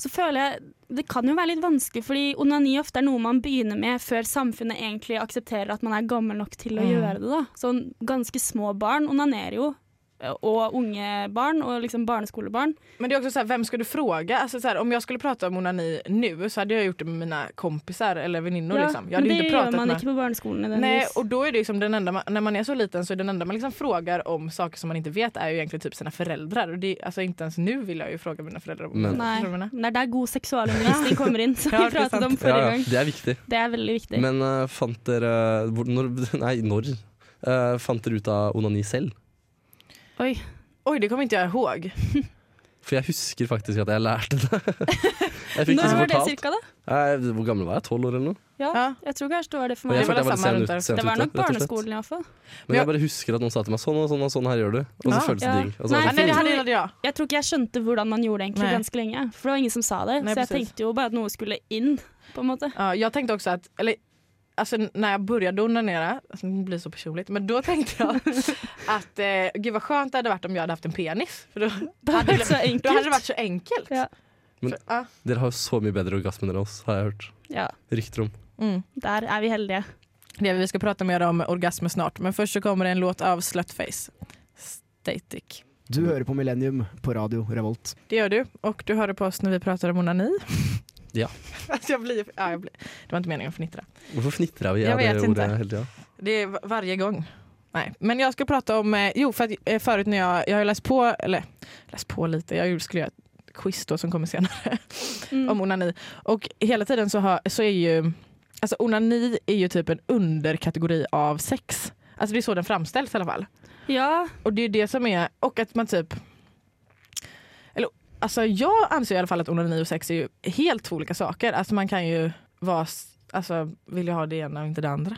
Speaker 2: Så føler jeg Det kan jo være litt vanskelig, fordi onani ofte er noe man begynner med før samfunnet egentlig aksepterer at man er gammel nok til å
Speaker 1: Mm.
Speaker 2: gjøre det. da. Sånn ganske små barn onanerer jo. Og unge barn, og liksom barneskolebarn.
Speaker 1: Men det är också så här, vem ska du fråga? Alltså så här, om jag skulle prata om onani nu så hade jag gjort det med mina kompisar eller väninnor. liksom. Jag
Speaker 2: men
Speaker 1: hade ju
Speaker 2: det
Speaker 1: inte
Speaker 2: gjør
Speaker 1: pratat
Speaker 2: man
Speaker 1: med...
Speaker 2: ikke på barneskolen.
Speaker 1: Nej,
Speaker 2: nødvendigvis.
Speaker 1: och då är det liksom den enda man, när man är så liten så är den enda man liksom frågar om saker som man inte vet är ju egentligen typ sina föräldrar. Och det, alltså inte ens nu vill jag ju fråga mina föräldrar om
Speaker 3: Men-
Speaker 1: det.
Speaker 2: Nei.
Speaker 1: Förstår du vad jag menar?
Speaker 2: Men det er der god seksualundervisning kommer inn, som
Speaker 1: Ja,
Speaker 2: vi
Speaker 1: det er
Speaker 2: pratet om
Speaker 1: sant.
Speaker 2: forrige gang.
Speaker 3: Det er viktig.
Speaker 2: Det er veldig viktig.
Speaker 3: Men eh, fant dere hvor, når, Nei, når eh, fant dere ut av onani selv?
Speaker 2: Oj.
Speaker 1: Oj, det kommer inte jag ihåg.
Speaker 3: For jeg husker faktisk at jeg lærte det. jeg fikk det
Speaker 2: Når
Speaker 3: så
Speaker 2: var det
Speaker 3: fortalt.
Speaker 2: cirka, da?
Speaker 3: Eh, hvor gammel var jeg? Tolv år eller noe?
Speaker 2: Ja,
Speaker 1: Ja.
Speaker 2: jeg tror kanskje det var det for
Speaker 3: Og jeg
Speaker 1: Det
Speaker 2: meg.
Speaker 1: var da
Speaker 3: følte jeg var
Speaker 1: samme
Speaker 3: sent
Speaker 1: rundt
Speaker 3: ut-
Speaker 1: der.
Speaker 3: sent
Speaker 2: Det var
Speaker 3: ute,
Speaker 2: nok
Speaker 3: rett og slett.
Speaker 2: barneskolen i hvert fall.
Speaker 3: Men jeg bare husker at noen sa til meg sånn og sånn og sånn, her gjør du. Og så
Speaker 1: Ja.
Speaker 3: føltes det
Speaker 2: Ja.
Speaker 3: digg. Og så var
Speaker 2: Nei,
Speaker 1: Ah,
Speaker 3: det
Speaker 1: nej, det
Speaker 3: fint.
Speaker 1: hade inte jag.
Speaker 2: Jeg tror ikke jeg skjønte hvordan man gjorde det egentlig
Speaker 1: Nei.
Speaker 2: ganske lenge. For det var ingen som sa det.
Speaker 1: Nei,
Speaker 2: så jeg
Speaker 1: precis.
Speaker 2: tenkte jo bare at noe skulle inn, på en måte.
Speaker 1: Ja, jag tänkte också att, eller alltså när jag började onanera, alltså, det blir så personligt, men då tänkte jag att eh, gud vad skönt det hade varit om jag hade haft en penis. För då,
Speaker 2: Det
Speaker 1: hade,
Speaker 2: var så
Speaker 1: det, då hade det
Speaker 2: enkelt.
Speaker 1: varit så enkelt.
Speaker 2: Ja.
Speaker 3: Men-
Speaker 1: För, ja.
Speaker 3: Dere har jo så mye bedre orgasmer enn oss, har jeg hørt.
Speaker 2: Ja,
Speaker 3: Rykter om.
Speaker 1: mm.
Speaker 2: der er vi heldige.
Speaker 1: Det vi ska prata mer om orgasmer snart, men först så kommer det en låt av Slutface, Static.
Speaker 6: Du hører på Millennium på radio Revolt.
Speaker 1: Det gör du. Och du hörde på oss när vi pratade om onani.
Speaker 3: Ja.
Speaker 1: alltså jag blir, ja, jeg blir, det var inte meningen att fnittra.
Speaker 3: Hvorfor fnitrer vi
Speaker 1: Jeg
Speaker 3: av det
Speaker 1: vet
Speaker 3: ordet
Speaker 1: ikke.
Speaker 3: hele tida?
Speaker 1: Det är v- varje gång. Nej, men jag ska prata om... eh, Jo, för att eh, förut när jag... Jag har ju läst på, eller läst på lite. Jag skulle göra ett quiz då som kommer senare om
Speaker 2: Mm.
Speaker 1: onani. Och hela tiden så, har, så är ju... Alltså onani är ju typ en underkategori av sex. Alltså det är så den framställs i alla fall.
Speaker 2: Ja,
Speaker 1: Och det är det som är, och att man typ eller, Alltså jag anser i alla fall att onani och sex är ju helt två olika saker. Alltså man kan ju vara, s- alltså vill jag ha det ena och inte det andra?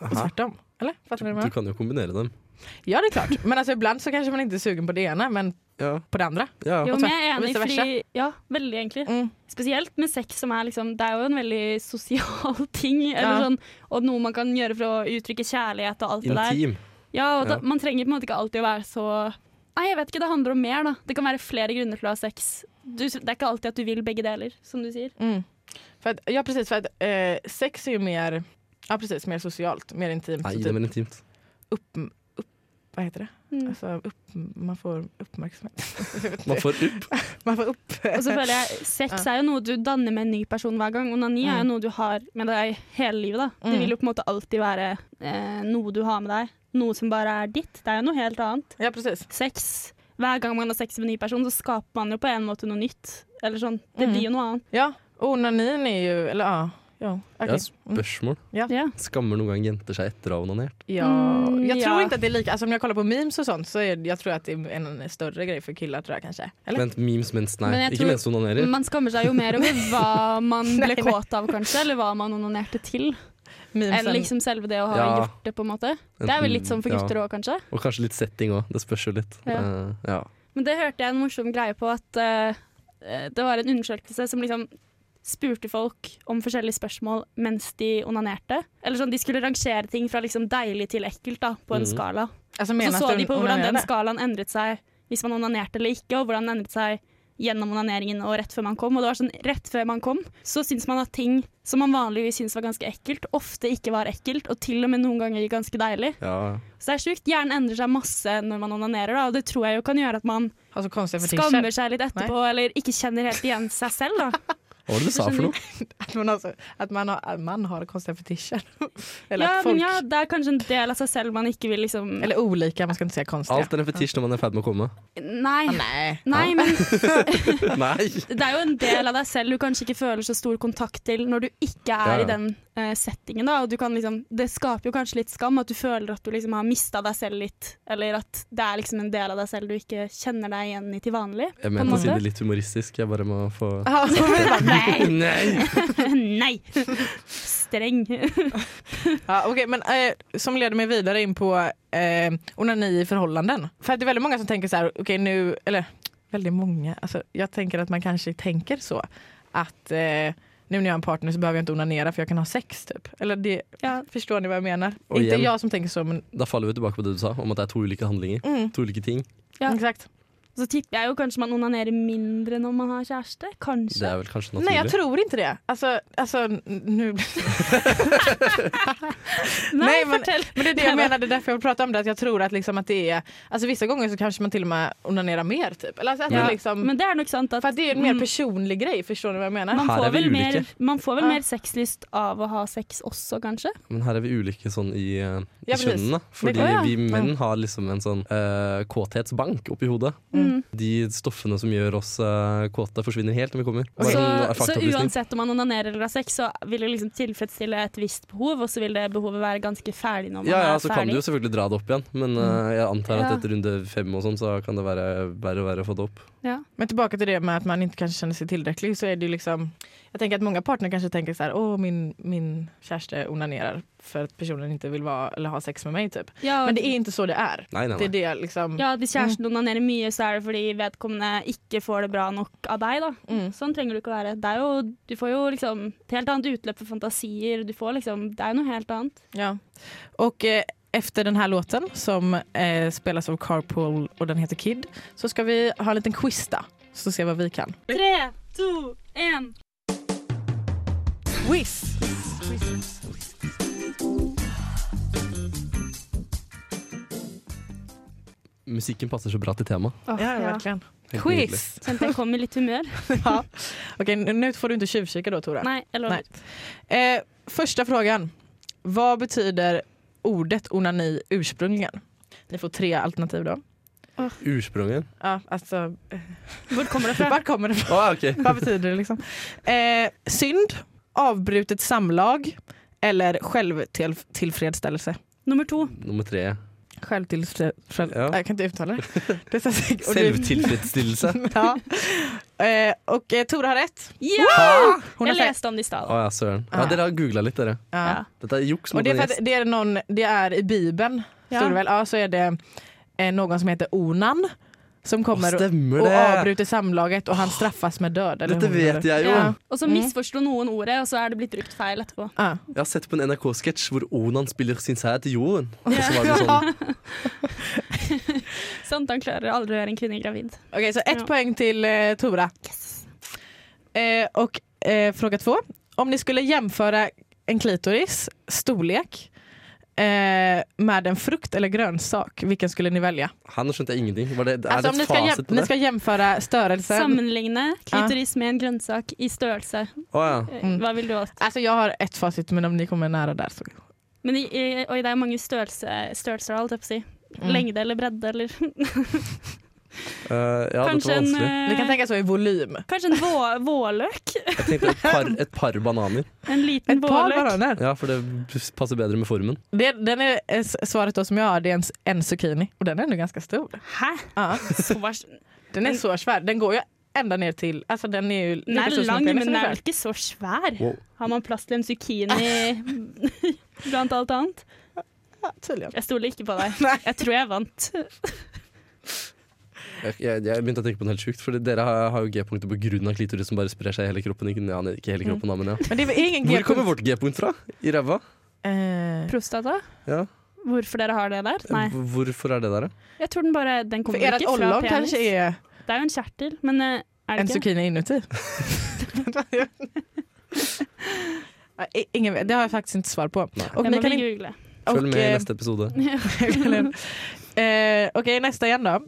Speaker 1: Och tvärtom. Eller? Fattar du vad jag menar?
Speaker 3: Du kan jo kombinere dem.
Speaker 1: Ja det är klart. Men alltså ibland så kanske man inte är sugen på det ena men
Speaker 3: Ja,
Speaker 1: på det andra.
Speaker 3: ja.
Speaker 2: jo,
Speaker 1: Og
Speaker 2: men jeg er
Speaker 1: tvert-
Speaker 2: enig,
Speaker 1: og vice
Speaker 2: fordi Ja, veldig egentlig.
Speaker 1: Mm.
Speaker 2: Spesielt med sex, som er liksom Det er jo en veldig sosial ting. Eller
Speaker 1: Ja.
Speaker 2: sånn, og noe man kan gjøre for å uttrykke kjærlighet og alt det der.
Speaker 3: Intim.
Speaker 2: Ja, og da,
Speaker 3: Ja.
Speaker 2: Man trenger på en måte ikke alltid å være så Nei, jeg vet ikke, det handler om mer, da. Det kan være flere grunner til å ha sex. Du, det er ikke alltid at du vil begge deler, som du sier.
Speaker 1: Mm. För att, ja precis, för att eh, sex är ju mer, ja precis, mer socialt, mer intimt.
Speaker 3: Nei,
Speaker 1: Så
Speaker 3: det er
Speaker 1: typ
Speaker 3: mer intimt.
Speaker 1: upp, upp, vad heter det?
Speaker 2: Mm.
Speaker 1: Alltså upp, man får uppmärksamhet. Jag vet
Speaker 3: Man
Speaker 1: inte.
Speaker 3: får upp.
Speaker 1: man får upp.
Speaker 2: Og så føler jeg Sex
Speaker 1: Ja.
Speaker 2: er jo noe du danner med en ny person hver gang. Onani er jo
Speaker 1: Mm.
Speaker 2: noe du har med deg hele livet. Da. Det
Speaker 1: Mm.
Speaker 2: vil jo på en måte alltid være eh, noe du har med deg. Noe som bare er ditt. Det er jo noe helt annet.
Speaker 1: Ja precis.
Speaker 2: Sex Hver gang man har sex med en ny person, så skaper man jo på en måte noe nytt. Eller sånn. Det
Speaker 1: Mm.
Speaker 2: blir jo noe annet.
Speaker 1: Ja, og onanin er jo Eller ja. ja. okej.
Speaker 3: Ja, spørsmål.
Speaker 2: Ja.
Speaker 3: Skammer noen gang jenter seg etter å ha onanert?
Speaker 1: Ja,
Speaker 2: Mm,
Speaker 1: jag
Speaker 2: ja.
Speaker 1: tror inte att det är lika, alltså om jag kollar på memes och sånt så är det- jag tror att det är en större grej för killar tror jag kanske. Eller?
Speaker 3: Vent, memes mens Nei,
Speaker 2: Men jeg
Speaker 3: ikke
Speaker 2: tror-
Speaker 3: mens du onanerer.
Speaker 2: Man skammer seg jo mer over hva man
Speaker 1: Nei,
Speaker 2: ble
Speaker 1: nei.
Speaker 2: kåt av, kanskje, eller hva man onanerte til.
Speaker 1: Memesen-
Speaker 2: Eller liksom selve det å ha
Speaker 3: Ja.
Speaker 2: gjort det, på en måte. Det er vel litt sånn for
Speaker 3: Ja.
Speaker 2: gutter òg, kanskje.
Speaker 3: Og kanskje litt setting òg. Det spørs jo litt.
Speaker 2: Ja.
Speaker 3: Eh, ja.
Speaker 2: Men det hørte jeg en morsom greie på at eh, eh, det var en undersøkelse som liksom spurte folk om forskjellige spørsmål mens de onanerte. Eller sånn, de skulle rangere ting fra liksom deilig til ekkelt da, på en
Speaker 3: Mhm.
Speaker 2: skala.
Speaker 1: alltså,
Speaker 2: Og
Speaker 1: menas
Speaker 2: så så
Speaker 1: det
Speaker 2: de på hvordan
Speaker 1: onanerade?
Speaker 2: den skalaen endret seg hvis man onanerte eller ikke, og hvordan den endret seg gjennom onaneringen og rett før man kom. Og det var sånn, rett før man kom, så syntes man at ting som man vanligvis syntes var ganske ekkelt, ofte ikke var ekkelt, og til og med noen ganger ganske deilig.
Speaker 3: Ja,
Speaker 2: Så det er sjukt. Hjernen endrer seg masse når man onanerer, da, og det tror jeg jo kan gjøre at man
Speaker 1: Har så konstiga fetischer.
Speaker 2: skammer seg litt etterpå, eller ikke kjenner helt igjen seg selv, da.
Speaker 3: Hva var det du sa for noe?
Speaker 1: Att man, alltså, att man, har, att man har konstiga fetischer. eller,
Speaker 2: Ja,
Speaker 1: att folk,
Speaker 2: men ja, det er kanskje en del av seg selv man ikke vil liksom
Speaker 1: eller olika, man ska inte säga konstiga.
Speaker 3: Alt er en fetisj når man er i ferd med å komme.
Speaker 2: Nei.
Speaker 1: Nej.
Speaker 2: Nei, men
Speaker 3: Nei!
Speaker 2: det er jo en del av deg selv du kanskje ikke føler så stor kontakt til når du ikke er
Speaker 3: Ja, ja.
Speaker 2: i den eh, settingen. Da, og du kan liksom, det skaper jo kanskje litt skam at du føler at du liksom har mista deg selv litt. Eller at det er liksom en del av deg selv du ikke kjenner deg igjen i til vanlig.
Speaker 3: Jeg
Speaker 2: På en
Speaker 3: mente å si
Speaker 2: måte.
Speaker 3: det litt humoristisk. Jeg bare må få
Speaker 1: Ja, så vi bara, nej.
Speaker 3: Nei!
Speaker 2: Nei! Streng.
Speaker 1: Ja, okej, men, eh, som leder mig vidare in på eh, onani i förhållanden. För att det är väldigt många som tänker så här, okej nu, eller väldigt många, alltså, jag tänker att man kanske tänker så att eh, nu när jag har en partner så behöver jag inte onanera för jag kan ha sex typ. Eller det,
Speaker 2: Ja.
Speaker 1: förstår ni vad jag menar?
Speaker 3: Och
Speaker 1: inte
Speaker 3: igen.
Speaker 1: jag som tänker så men
Speaker 3: Da faller vi tilbake på det du sa, om at det er to ulike handlinger.
Speaker 1: mm,
Speaker 3: To ulike ting.
Speaker 2: Ja.
Speaker 1: exakt.
Speaker 2: Så tipper jeg jo kanskje man onanerer mindre når man har kjæreste.
Speaker 3: Det
Speaker 2: Kanskje.
Speaker 3: er vel kanskje
Speaker 1: Nej jag
Speaker 3: naturlig.
Speaker 1: tror ikke det. Alltså, alltså n- nu
Speaker 2: Nei,
Speaker 1: Nej, men-
Speaker 2: fortell.
Speaker 1: Men det är det jag menar, det är därför jag vill prata om det. Att jag tror att, liksom att det är, alltså vissa gånger så kanske man till och med onanerar mer typ. Eller alltså att
Speaker 3: Ja,
Speaker 1: det liksom,
Speaker 2: Men det er nok sant at
Speaker 1: för att det är en mer
Speaker 2: Mm.
Speaker 1: personlig grej, förstår ni vad jag menar?
Speaker 2: man
Speaker 3: Her er
Speaker 2: får,
Speaker 3: vi
Speaker 2: vel mer,
Speaker 3: ulike.
Speaker 2: man får vel
Speaker 1: Ja.
Speaker 2: mer sexlyst av å ha sex også, kanskje.
Speaker 3: Men her er vi ulike sånn i, eh, i
Speaker 1: Ja, precis.
Speaker 3: kjønnene. Fordi
Speaker 1: Det- Å, ja.
Speaker 3: vi menn har liksom en sånn eh, kåthetsbank oppi hodet.
Speaker 2: Mm.
Speaker 3: De stoffene som gjør oss eh, kåte, forsvinner helt når vi kommer. Bare en
Speaker 2: Så, så
Speaker 3: faktaopplysning.
Speaker 2: uansett om man onanerer eller har sex, så vil det liksom tilfredsstille et visst behov, og så vil det behovet være ganske ferdig når man
Speaker 3: Ja, ja,
Speaker 2: er
Speaker 3: så kan du
Speaker 2: ferdig.
Speaker 3: jo selvfølgelig dra det opp igjen, men eh, jeg antar at
Speaker 2: Ja.
Speaker 3: etter runde fem og sånn, så kan det være verre og verre å få det opp.
Speaker 1: Men tillbaka till det med att man inte kanske känner sig tillräcklig så är det ju liksom Jag tänker att många partner kanske tänker så här, åh min, min kärste onanerar för att personen inte vill vara eller ha sex med mig typ.
Speaker 2: Ja,
Speaker 1: Men det är inte så det är.
Speaker 3: Nei, nei,
Speaker 1: Det är
Speaker 3: nei.
Speaker 1: det liksom.
Speaker 2: ja, hvis kjæresten onanerer mye, så er det fordi vedkommende ikke får det bra nok av deg, da.
Speaker 1: Mm.
Speaker 2: Sånn trenger du ikke å være. Det er jo, du får jo liksom et helt annet utløp for fantasier. Du får liksom, det er jo noe helt annet.
Speaker 1: Ja. Och eh, efter den här låten som eh, spelas av Carpool och den heter Kid så ska vi ha en liten quiz då, så se vad vi kan.
Speaker 2: Tre, to, én.
Speaker 1: Quiz!
Speaker 3: Musikken passer så bra til temaet.
Speaker 1: Ja, verkligen.
Speaker 3: Helt nydelig.
Speaker 1: Quiz!
Speaker 2: Kjente jeg kom i litt humør.
Speaker 1: ja. Okej, nu- nu får du inte tjuvkika då Tora.
Speaker 2: Nei,
Speaker 1: Nej.
Speaker 2: jeg lover.
Speaker 1: Eh, första frågan. Vad betyder ordet onani ursprungligen? Ni får tre alternativ då.
Speaker 3: Ursprungen.
Speaker 1: Ja, alltså,
Speaker 2: Hvor kommer det fra?
Speaker 1: var kommer det ifrån?
Speaker 3: Ah, ok.
Speaker 1: Vad betyder det liksom? Eh, synd, avbrutet samlag eller självtillfredsställelse?
Speaker 2: Nummer to.
Speaker 3: Nummer tre.
Speaker 1: Självtillfredsställelse?
Speaker 3: Ja.
Speaker 1: Jag kan inte uttala det. det är så sick- och det-
Speaker 3: Selvtilfredsstillelse.
Speaker 1: ja. eh, och eh, Tora har rätt.
Speaker 2: Ja!
Speaker 1: Hon har
Speaker 2: Jeg
Speaker 1: fel.
Speaker 2: leste om det i stad.
Speaker 3: Å ja, søren. Ja,
Speaker 1: Ah.
Speaker 3: dere har googla litt, dere.
Speaker 1: Ja.
Speaker 2: Ja.
Speaker 3: Dette er juks
Speaker 1: Och
Speaker 3: mot
Speaker 1: det, är
Speaker 3: en
Speaker 1: för att
Speaker 3: gjest.
Speaker 1: det, är någon, det är i Bibeln,
Speaker 2: Ja.
Speaker 1: står det väl? Ja, så är det eh, någon som heter Onan som
Speaker 3: Å,
Speaker 1: kommer
Speaker 3: stemmer
Speaker 1: och
Speaker 3: det!
Speaker 1: avbryter samlaget og han straffas med død.
Speaker 3: Dette vet jeg jo.
Speaker 1: Ja.
Speaker 2: Og så
Speaker 1: Mm.
Speaker 2: misforsto noen ordet, og så er det blitt brukt feil etterpå.
Speaker 1: Ja.
Speaker 3: Jeg har sett på en NRK-sketsj hvor Onan spiller sin sæd til jorden. Og så var det sånn
Speaker 2: Sant, han klarer aldri å gjøre en kvinne gravid.
Speaker 1: Okej, så ett
Speaker 2: Ja.
Speaker 1: poäng till eh, Tora. Eh, och eh, fråga två. Om ni skulle jämföra en klitoris storlek eh, med en frukt eller grönsak, vilken skulle ni välja?
Speaker 3: Han skjønte jeg ingenting. Var det, er
Speaker 1: Alltså, om ni
Speaker 3: det et
Speaker 1: ska, jäm-
Speaker 3: fasit på
Speaker 1: ni
Speaker 3: det?
Speaker 1: ska jämföra störelsen.
Speaker 2: Sammenligne klitoris med en grønnsak i størrelse.
Speaker 3: Å ja.
Speaker 2: Eh,
Speaker 1: Mm.
Speaker 2: Hva vil du åt?
Speaker 1: Alltså, jag har ett facit men om ni kommer nära där så...
Speaker 2: Men i, i, oi, det er mange størrelse, størrelser, holdt jeg på å si.
Speaker 1: Mm.
Speaker 2: Lengde eller bredde eller
Speaker 3: Eh, ja, dette
Speaker 2: Kanskje
Speaker 3: var
Speaker 2: en,
Speaker 3: vanskelig.
Speaker 2: eh,
Speaker 1: Ni kan tänka så i volym.
Speaker 2: kanskje en vå, vårløk?
Speaker 3: Jeg tenkte et par, et par bananer.
Speaker 2: En liten
Speaker 1: Ett par
Speaker 2: vårløk.
Speaker 1: bananer.
Speaker 3: Ja, for det passer bedre med formen.
Speaker 1: Det, den är, eh, s- svaret då som jag har det är en, s- en zucchini och den är ändå ganska stor.
Speaker 2: Hæ?
Speaker 1: Ja.
Speaker 2: Så var,
Speaker 1: Den är så svår. Den går ju ända ner till... Alltså den är ju
Speaker 2: den
Speaker 1: lika
Speaker 2: er
Speaker 1: stor som
Speaker 2: lang,
Speaker 1: en
Speaker 2: men
Speaker 1: penis
Speaker 2: den er
Speaker 1: ungefär.
Speaker 2: vel ikke så svær?
Speaker 3: Wow.
Speaker 2: Har man plass til en zucchini blant alt annet?
Speaker 1: Ja, tydligen.
Speaker 2: Jeg stoler ikke på deg.
Speaker 1: Nei.
Speaker 2: Jeg tror jeg vant.
Speaker 3: Jeg, jeg, jeg begynte å tenke på noe helt sjukt, for dere har, har jo G-punkter på grunn av klitoris som bare sprer seg i hele kroppen. Ikke, ja, ikke hele kroppen da, men ja.
Speaker 1: Men det är väl ingen
Speaker 3: Hvor kommer
Speaker 1: Mm. G-punkt?
Speaker 3: vårt G-punkt fra? I ræva?
Speaker 1: Eh,
Speaker 2: Prostata?
Speaker 3: Ja.
Speaker 2: Hvorfor dere har det der? Nei.
Speaker 3: Hvorfor er det der, da?
Speaker 2: Jeg tror den bare den
Speaker 1: för
Speaker 2: kommer
Speaker 1: ert
Speaker 2: ikke fra
Speaker 1: ollon
Speaker 2: penis.
Speaker 1: kanske är...
Speaker 2: Det er jo en kjertel, men eh, Er
Speaker 1: En
Speaker 2: det ikke?
Speaker 1: zucchini inuti. Ja, i- Ingen, vet. det har jag faktiskt inte svar på.
Speaker 3: Nej.
Speaker 1: Och
Speaker 2: Det
Speaker 1: ni
Speaker 2: må
Speaker 1: kan
Speaker 2: vi
Speaker 1: in-
Speaker 2: google.
Speaker 3: Følg
Speaker 1: och,
Speaker 3: med i
Speaker 1: eh,
Speaker 3: neste episode.
Speaker 1: Verkligen. eh, Okej, nästa igen då.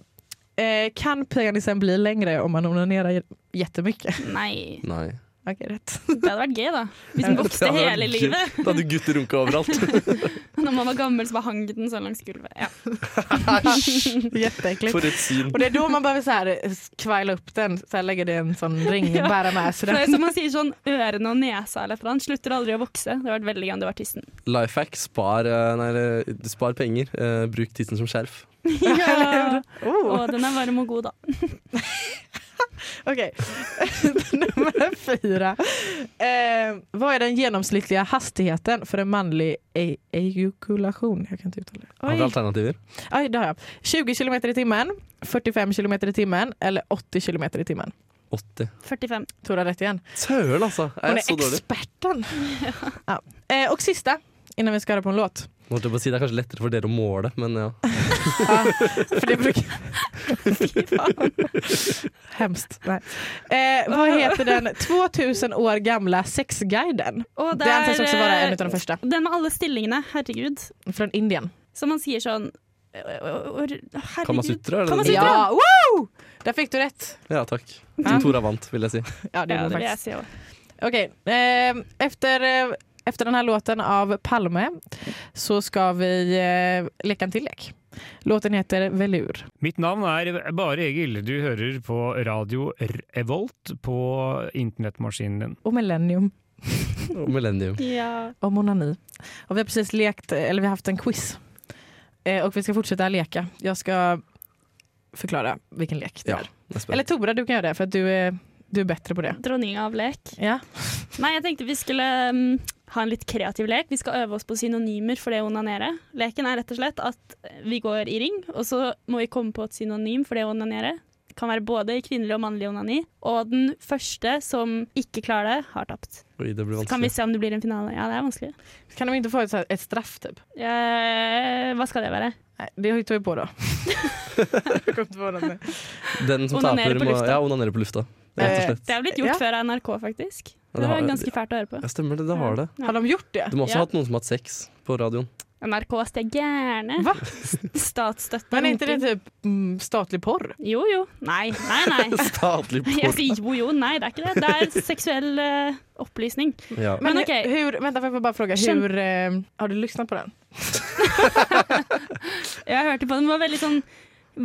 Speaker 1: Eh, kan penisen bli längre om man onanerar j- jättemycket?
Speaker 2: Nei.
Speaker 3: Nei.
Speaker 1: Okej, rätt.
Speaker 2: Det hadde vært gøy, da. Hvis
Speaker 1: Ja.
Speaker 2: den vokste
Speaker 3: Det hadde vært
Speaker 2: hele
Speaker 3: gøy.
Speaker 2: livet.
Speaker 3: Da hadde gutter runka overalt.
Speaker 2: Når man var gammel, så bare hang den sånn langs gulvet. Ja.
Speaker 1: Jätteäckligt.
Speaker 3: For et syn.
Speaker 1: Och det är då man behöver så här eh, kvajla upp den, så här lägger det i en sånn ring,
Speaker 2: Ja.
Speaker 1: bära med sig
Speaker 2: For det er
Speaker 1: den.
Speaker 2: som man sier sånn, ørene og nesa eller et eller annet slutter aldri å vokse. Det hadde vært veldig gøy om du var tissen.
Speaker 3: Life hack, spar, eh, nei, eh, spar penger. Eh, bruk tissen som skjerf.
Speaker 2: Ja.
Speaker 1: Oh.
Speaker 2: Og den er varm og god, da.
Speaker 1: Okej. Nummer fyra. Eh, vad är den genomsnittliga hastigheten för en manlig e- ejakulation? Jag kan inte uttala det.
Speaker 3: Har vi alternativer?
Speaker 1: Aj, det har jag. 20 kilometer i timmen, 45 kilometer i timmen eller 80 kilometer i timmen.
Speaker 3: 80.
Speaker 2: 45.
Speaker 1: Tora rätt igen.
Speaker 3: Søren, altså! Jeg
Speaker 1: Hon
Speaker 3: er
Speaker 1: är
Speaker 3: så dårlig.
Speaker 1: experten. Ja. Eh, och sista, innan vi ska höra på en låt.
Speaker 3: Nå holdt jeg på å si, det er kanskje lettere for dere å måle, men ja.
Speaker 1: För det brukar... Fy fan. Hemskt. Nej. Eh, vad heter den 2000 år gamla sexguiden?
Speaker 2: Og
Speaker 1: Det anses också vara en
Speaker 2: eh,
Speaker 1: av de första.
Speaker 2: Den med alle stillingene. Herregud.
Speaker 1: Från Indien.
Speaker 2: Så man sier sånn ø- ø- ø- Herregud.
Speaker 3: Kamasutra, er det det?
Speaker 2: Kamasutra.
Speaker 3: heter?
Speaker 1: Ja, wow! Där fick du rätt.
Speaker 3: Ja, takk.
Speaker 1: Ja.
Speaker 3: Så Tora vant, vil jeg si.
Speaker 1: Ja, det gjorde
Speaker 2: Ja, det
Speaker 1: hon
Speaker 2: vil jeg
Speaker 1: faktiskt.
Speaker 2: si også.
Speaker 1: Okej, eh, efter, eh, efter den här låten av Palme så ska vi eh, leka en till lek. Låten heter Velur.
Speaker 7: Mitt navn er Bare Egil. Du hører på radio Revolt på internettmaskinen din.
Speaker 1: Och Millennium
Speaker 3: Og Millennium.
Speaker 2: Ja.
Speaker 1: om onani. Och vi har precis lekt, eller vi har haft en quiz. Eh, och vi ska fortsätta leka. Jag ska förklara vilken lek det
Speaker 3: Ja,
Speaker 1: är.
Speaker 3: jeg er
Speaker 1: Eller
Speaker 3: spent.
Speaker 1: Tora, du kan göra det för att du är, du är bättre på det.
Speaker 2: Dronninga av lek.
Speaker 1: Ja.
Speaker 2: Nei, jeg tenkte vi skulle mm, ha en litt kreativ lek. Vi skal øve oss på synonymer for det å onanere. Leken er rett og slett at vi går i ring, og så må vi komme på et synonym for det å onanere. Det kan være både kvinnelig og mannlig onani. Og den første som ikke klarer det, har tapt.
Speaker 3: Oi, det blir
Speaker 2: Så kan vi
Speaker 3: vanskelig.
Speaker 2: se om det blir en finale. Ja, det er vanskelig.
Speaker 1: Kan de inte få ett, så här- ett straff typ?
Speaker 2: Eh, hva skal det være?
Speaker 1: Nej, det hittar vi på då. Jag kom inte på något mer.
Speaker 3: Den som
Speaker 2: Onanere
Speaker 3: taper,
Speaker 2: på
Speaker 3: må
Speaker 2: lufta.
Speaker 3: ja, onanere på lufta. Rett og
Speaker 1: Eh,
Speaker 3: slett.
Speaker 2: Det har blitt gjort
Speaker 1: Ja.
Speaker 2: før av NRK, faktisk. Det
Speaker 3: Ja, det har-
Speaker 2: var ganske fælt å høre på.
Speaker 3: Ja, stemmer det. Det har det.
Speaker 1: Har de gjort det?
Speaker 3: Du må også
Speaker 2: Ja.
Speaker 3: ha hatt noen som har hatt sex på radioen.
Speaker 2: NRK steg gjerne.
Speaker 1: Va?
Speaker 2: Statsstøtte.
Speaker 1: Men är inte det typ mm, statlig porr?
Speaker 2: Jo, jo. Nei, nei, nei.
Speaker 3: Statlig
Speaker 2: Jeg
Speaker 3: porno.
Speaker 2: sier jo, jo, nei, det er ikke det. Det er seksuell eh, opplysning.
Speaker 3: Ja.
Speaker 1: Men,
Speaker 2: Men okej.
Speaker 1: hur, vänta, får jag bara fråga,
Speaker 2: Känn-
Speaker 1: hur, eh, har du lyssnat på den?
Speaker 2: Jeg hørte på den, den var veldig sånn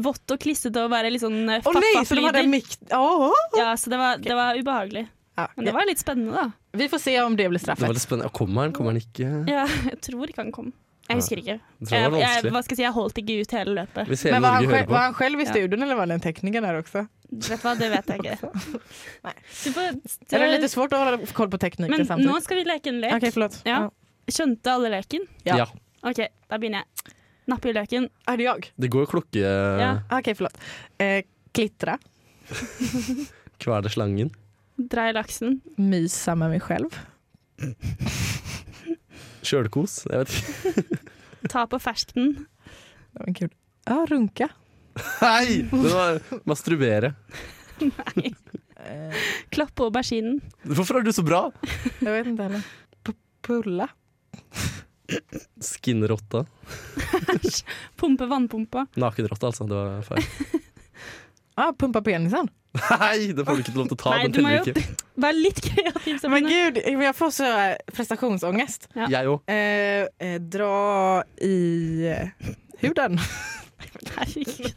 Speaker 2: vått og klissete og bare litt sånn eh,
Speaker 1: Åh nej, så de hade en
Speaker 2: faffaflyder.
Speaker 1: mick... Åh!
Speaker 2: Ja, så det var, det var ubehagelig.
Speaker 1: Ja,
Speaker 2: Men det var litt spennende, da.
Speaker 1: Vi får se om det blir
Speaker 3: Det var
Speaker 1: straffet.
Speaker 3: litt spennende. Ja, Kommer han, kommer han ikke?
Speaker 2: Ja, jeg tror ikke han kom. Jeg husker ikke.
Speaker 3: Jeg tror det
Speaker 2: Jeg,
Speaker 3: var
Speaker 2: jeg,
Speaker 3: vanskelig.
Speaker 2: hva skal jeg si, jeg holdt ikke ut hele løpet.
Speaker 3: Hvis hele
Speaker 1: Men var han,
Speaker 3: Norge
Speaker 1: själv,
Speaker 3: hører
Speaker 1: var
Speaker 3: på.
Speaker 1: han själv i
Speaker 2: Ja.
Speaker 1: studion eller var det en tekniker där också?
Speaker 2: Vet du hva, det vet jeg ikke.
Speaker 1: Nei.
Speaker 2: Du får, eh,
Speaker 1: Eller det är lite svårt att hålla koll på tekniker
Speaker 2: men
Speaker 1: samtidigt.
Speaker 2: nå skal vi leke en
Speaker 1: Okej,
Speaker 2: lek.
Speaker 1: förlåt.
Speaker 2: Ja. Skjønte alle leken?
Speaker 1: Ja.
Speaker 3: Ja.
Speaker 2: OK, da begynner jeg. Nappe i løken.
Speaker 1: Är det jag?
Speaker 3: Det går klokke...
Speaker 2: Ja.
Speaker 1: Okej, förlåt. Eh, klittra,
Speaker 3: Kvele slangen.
Speaker 2: Dra i laksen.
Speaker 1: mysa med mig själv,
Speaker 3: Sjølkos. Jeg vet ikke.
Speaker 2: Ta på fersken.
Speaker 1: det var kul. Ja, runka.
Speaker 3: Hei! Det var masturbere.
Speaker 1: Eh,
Speaker 2: Klappe auberginen.
Speaker 3: Hvorfor er du så bra?
Speaker 1: jag vet inte heller. P- pulla.
Speaker 3: Skinrotta.
Speaker 2: Pumpe vannpumpa.
Speaker 3: Nakenrotta, altså. Det var feil.
Speaker 1: Ja, pumpa penisen.
Speaker 3: Nei, det får du ikke lov til å ta.
Speaker 2: Nei,
Speaker 3: den
Speaker 2: du må
Speaker 3: teller
Speaker 2: jo
Speaker 3: ikke.
Speaker 2: være litt kreativ.
Speaker 1: Men gud, jag får så här prestationsångest.
Speaker 2: Ja.
Speaker 3: Jeg òg.
Speaker 1: Eh, eh, dra i eh, huden.
Speaker 2: Herregud.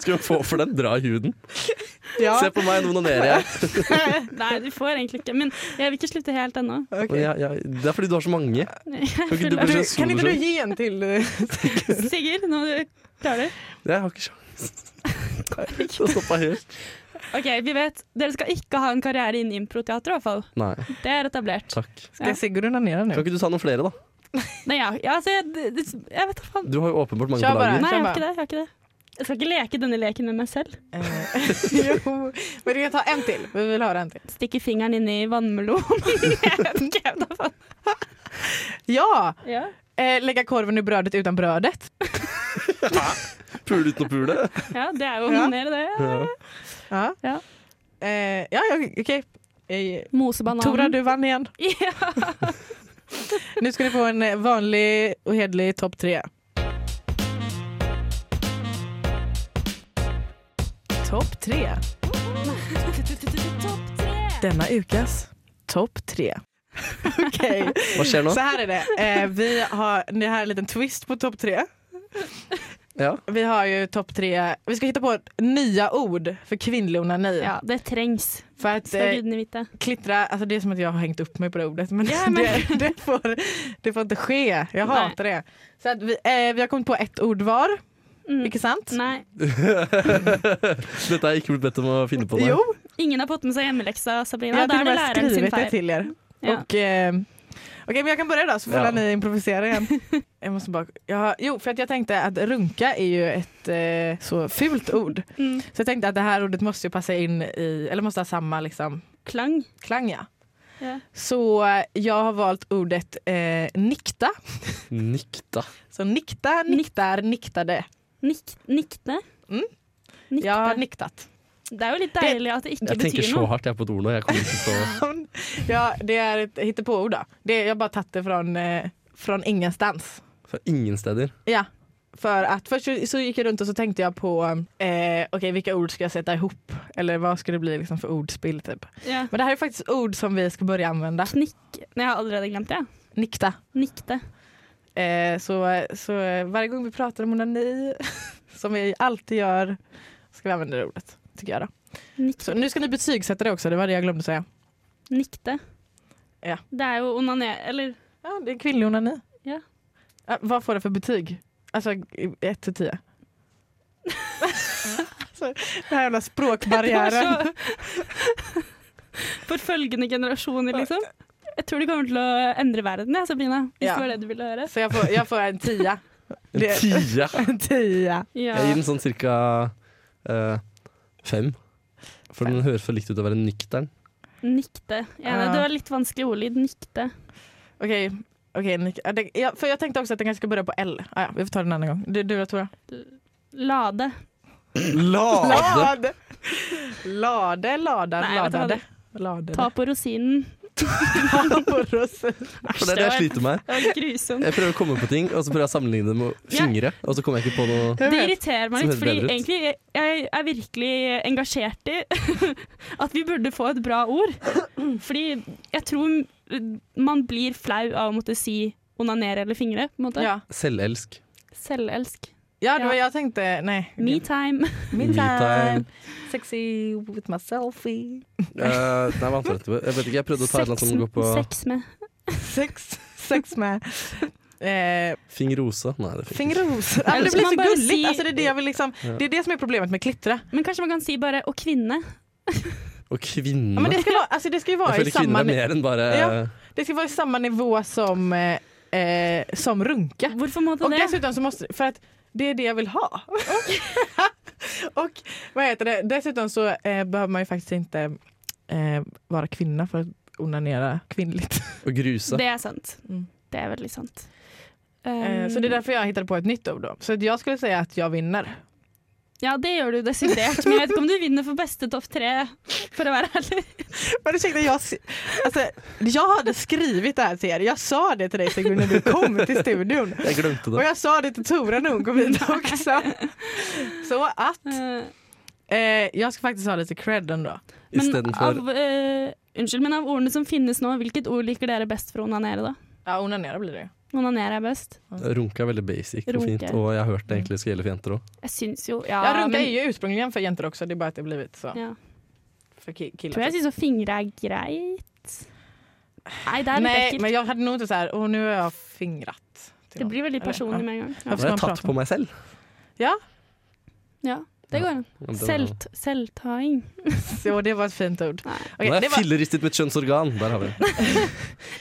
Speaker 3: Skal vi få for den? Dra i huden. Se
Speaker 1: Ja.
Speaker 3: på meg, nå onanerer jeg.
Speaker 2: Nei, du får egentlig ikke. Men jeg vil ikke slutte helt ennå.
Speaker 3: Men jeg, jeg. Det er fordi du har så mange. Kan ikke du
Speaker 1: Du,
Speaker 3: bare
Speaker 1: kan
Speaker 3: solo
Speaker 1: inte du ge en till? eh,
Speaker 2: Sigurd, nå klarer du.
Speaker 3: Jeg har ikke sjans. Nei, Det stoppa helt.
Speaker 2: OK, vi vet. Dere skal ikke ha en karriere innen improteater, i hvert fall.
Speaker 3: Nei,
Speaker 2: Det er etablert.
Speaker 3: takk.
Speaker 1: Ska Sigurd onanera
Speaker 3: Kan
Speaker 1: nu?
Speaker 3: ikke du ta noen flere, da?
Speaker 2: Nei, ja. Ja, altså, jeg, det- det- jeg vet da faen.
Speaker 3: Du har jo åpenbart mange
Speaker 1: Kjør
Speaker 3: på lager.
Speaker 1: bare.
Speaker 2: Nei, jeg har ikke det. Jeg har ikke det. Jeg skal ikke leke denne leken med meg selv.
Speaker 1: Eh, jo, men du kan ta en till. Vi vill höra en till.
Speaker 2: Stikke fingeren inn i vannmelonen. Jeg vet ikke, jeg vet da faen.
Speaker 1: Ja!
Speaker 2: Ja.
Speaker 1: Eh, lägga korven i brödet utan brödet.
Speaker 3: Pule uten å pule.
Speaker 2: Ja, det er
Speaker 1: Ja.
Speaker 2: jo å onanere, det.
Speaker 3: Ja.
Speaker 1: Ja.
Speaker 2: Ja.
Speaker 1: Eh, ja, ja, OK. Eh,
Speaker 2: Mosebananen.
Speaker 1: Tora, du vann igen.
Speaker 2: Ja.
Speaker 1: Nu ska ni få en eh, vanlig och hederlig topp tre. Topp tre. Denna ukas topp tre. Okej,
Speaker 3: Hva skjer nå?
Speaker 1: så här är det. Eh, vi har, det här är en liten twist på topp tre.
Speaker 3: Ja.
Speaker 1: Vi har ju topp tre. Vi ska hitta på nya ord för kvinnlig onani.
Speaker 2: ja, det trengs.
Speaker 1: För att
Speaker 2: Ska
Speaker 1: eh,
Speaker 2: gudene vite.
Speaker 1: klittra, alltså det är som att jag har hängt upp mig på det ordet men,
Speaker 2: Ja, men-
Speaker 1: Det, det, får, det får inte ske. Jag
Speaker 2: Nej.
Speaker 1: hatar det. Så att vi, eh, vi har kommit på ett ord var,
Speaker 2: Mm.
Speaker 1: inte sant?
Speaker 2: Nei.
Speaker 3: Dette har jeg ikke blitt bedt om å finne på.
Speaker 1: Jo,
Speaker 2: Ingen har fått med seg hjemmeleksa, Sabrina.
Speaker 1: jag har till och
Speaker 2: da er det
Speaker 1: med
Speaker 2: læreren sin
Speaker 1: skrivit det
Speaker 2: feil.
Speaker 1: till er.
Speaker 2: Ja.
Speaker 1: Och, eh, Okej men jeg kan börja då så får
Speaker 3: Ja.
Speaker 1: ni improvisera igen. jag måste bara, jag har, jo för att jag tänkte att runka är ju ett eh, så fult ord.
Speaker 2: Mm.
Speaker 1: Så jag tänkte att det här ordet måste ju passa in i, eller måste ha samma liksom,
Speaker 2: Klang.
Speaker 1: klang ja.
Speaker 2: Ja.
Speaker 1: Så eh, jag har valt ordet eh, nikta.
Speaker 3: Nikta.
Speaker 1: Så nikta, niktar, niktade.
Speaker 2: Nik nikte.
Speaker 1: Mm.
Speaker 2: Nikte.
Speaker 1: Jag har niktat.
Speaker 2: det er jo litt deilig at det ikke
Speaker 3: Jeg tenker
Speaker 2: betyr
Speaker 3: så
Speaker 2: noe.
Speaker 3: hardt jeg på et ord nå. Jeg kommer ikke til å
Speaker 1: Ja, det är ett hittepåord. då. Det, jag har bara tagit det från, eh, från ingenstans.
Speaker 3: Fra ingen steder.
Speaker 1: Ja. För att först så- så gick jag runt och så tänkte jag på eh, okej vilka ord ska jag sätta ihop? Eller vad ska det bli liksom för ordspill typ?
Speaker 2: Ja.
Speaker 1: Men det här är faktiskt ord som vi ska börja använda.
Speaker 2: Knikk Nei, Jeg har allerede glemt det. jeg.
Speaker 1: Nikta.
Speaker 2: Nikte.
Speaker 1: Eh, så, så eh, varje gång vi pratar om onani, som vi alltid gör, ska vi använda det ordet. Tycker jag då.
Speaker 2: Nikte.
Speaker 1: Så, nu ska ni betygsätta det också, det var det jag glömde säga.
Speaker 2: Nikte.
Speaker 1: Ja.
Speaker 2: Det er jo onanere Eller
Speaker 1: Ja, det är kvinnlig onani.
Speaker 2: Ja.
Speaker 1: Ja, vad får det för betyg? Alltså 1 till 10. alltså, den här jävla
Speaker 2: Det
Speaker 1: språkbarriären.
Speaker 2: var så- For følgende generasjoner, liksom. Jeg tror det kommer til å endre verden, jeg, Sabrina. Hvis
Speaker 1: Ja.
Speaker 2: det var det du ville høre.
Speaker 1: Så jag får, jag får en 10.
Speaker 3: En
Speaker 1: Det-
Speaker 3: tia.
Speaker 1: En 10.
Speaker 2: Ja.
Speaker 3: Jeg gir den sånn cirka eh, fem. For den høres for likt ut å være nyktern.
Speaker 2: Nikte. Ja,
Speaker 1: Ja.
Speaker 2: Det var litt vanskelig ordlyd. Nikte.
Speaker 1: Okej. Okej, Nick. Ja, det- ja, för jag tänkte också att den kanske ska börja på L. Ah, ja, vi får ta den en annan gång. Du, du då Tora?
Speaker 2: Lade.
Speaker 3: Lade!
Speaker 1: Lade, ladar,
Speaker 2: Nej, vänta,
Speaker 1: ladade. Ladade.
Speaker 2: Ta på rosinen.
Speaker 1: Ta på rosen.
Speaker 3: For det er det jeg sliter med.
Speaker 2: Det var grusomt.
Speaker 3: Jeg prøver å komme på ting, og så prøver jeg å sammenligne det med
Speaker 2: Ja.
Speaker 3: fingre. Og så kommer jeg ikke på noe
Speaker 1: Jag
Speaker 2: Det
Speaker 1: vet.
Speaker 2: irriterer meg litt,
Speaker 3: Som høres
Speaker 2: fordi
Speaker 3: bedre ut.
Speaker 2: egentlig jeg- jeg er virkelig engasjert i at vi burde få et bra ord. Fordi jeg tror man blir flau av å måtte si onanere eller fingre. På en måte.
Speaker 1: Ja.
Speaker 3: selvelsk.
Speaker 2: Selvelsk.
Speaker 1: ja, det var
Speaker 2: Ja.
Speaker 1: jag tänkte. Nej.
Speaker 2: Me time.
Speaker 1: Me
Speaker 3: Me
Speaker 1: time.
Speaker 3: time.
Speaker 1: Sexy with my selfie.
Speaker 3: Eh, nei, hva antar jeg? Jeg vet ikke, jeg prøvde å ta et eller annet som går på
Speaker 2: sex med.
Speaker 1: Sex, sex med eh,
Speaker 3: fingerose. Nei, det fikk jeg ikke.
Speaker 1: fingerros. Ja, men
Speaker 2: Eller
Speaker 1: det
Speaker 2: så
Speaker 1: blir
Speaker 2: man
Speaker 1: så
Speaker 2: bara
Speaker 1: gulligt.
Speaker 2: si-
Speaker 1: Alltså, det, är det, jag vill liksom,
Speaker 3: Ja.
Speaker 1: det är det som är problemet med klittra.
Speaker 2: Men kanskje man kan si bare 'å kvinne'.
Speaker 3: Og
Speaker 1: Ja, men
Speaker 3: kvinne.
Speaker 1: det, ska vara, alltså, det ska ju
Speaker 3: Jeg
Speaker 1: vara i
Speaker 3: føler kvinner
Speaker 1: samma,
Speaker 3: er mer enn bare
Speaker 1: Ja. det ska vara i samma nivå som, eh, eh, som runka.
Speaker 2: Hvorfor må det
Speaker 1: Och
Speaker 2: det?
Speaker 1: dessutom så måste, för att det är det jag vill ha. och vad heter det, dessutom så eh, behöver man ju faktiskt inte eh, vara kvinna för att onanera kvinnligt.
Speaker 3: å gruse.
Speaker 2: Det er sant.
Speaker 1: Mm.
Speaker 2: Det er veldig sant.
Speaker 1: Eh, så det är därför jag hittade på ett nytt ord då. Så att jag skulle säga att jag vinner.
Speaker 2: Ja, det gjør du desidert, men jeg vet ikke om du vinner for beste topp tre, for å være ærlig.
Speaker 1: Men ursäkta, jag, alltså, jag hade skrivit det här till er. Jag sa det till dig Sigrid när du kom till studion.
Speaker 3: Jeg glemte
Speaker 1: Och
Speaker 3: det.
Speaker 1: jag sa det till Tora när hon kom hit också. Så att
Speaker 2: Eh,
Speaker 1: eh, jag ska faktiskt ha lite cred ändå.
Speaker 2: Men
Speaker 3: Istedenfor
Speaker 2: av, eh, unnskyld, men av ordene som finnes nå, hvilket ord liker dere best for å onanere, da?
Speaker 1: Ja, onanera blir det.
Speaker 2: Onanere er best.
Speaker 3: Runke er veldig basic og
Speaker 2: Runke.
Speaker 3: fint, och jeg har hørt det
Speaker 1: Mm.
Speaker 3: egentlig skal gjelde for jenter òg.
Speaker 2: Jeg syns jo Ja,
Speaker 1: Ja, runka
Speaker 2: men-
Speaker 1: är ju ursprungligen för jenter också. Det är bara att det har blivit så
Speaker 2: ja.
Speaker 1: för ki- killar. typ.
Speaker 2: Tror jeg syns fingre er greit. Nei, det er litt
Speaker 1: Nej,
Speaker 2: ekkelt.
Speaker 1: men jag hade nog inte så här, åh nu har jeg fingrat. till
Speaker 2: Det
Speaker 1: någon."
Speaker 2: blir veldig
Speaker 1: Eller, ja.
Speaker 2: personlig med en gang.
Speaker 1: Varför
Speaker 2: Ja.
Speaker 3: Nå
Speaker 1: ska
Speaker 3: har
Speaker 1: man
Speaker 3: jeg tatt
Speaker 1: prata
Speaker 3: på
Speaker 1: om-
Speaker 3: meg selv.
Speaker 2: ja, det går an.
Speaker 3: Ja, men det var-
Speaker 2: Selt, selvtaing.
Speaker 1: Så det var ett fint ord.
Speaker 2: Nei.
Speaker 1: Okej,
Speaker 3: Nå er
Speaker 1: det
Speaker 3: jeg
Speaker 1: var
Speaker 3: filleristet med kjønnsorgan. Der har vi det. Og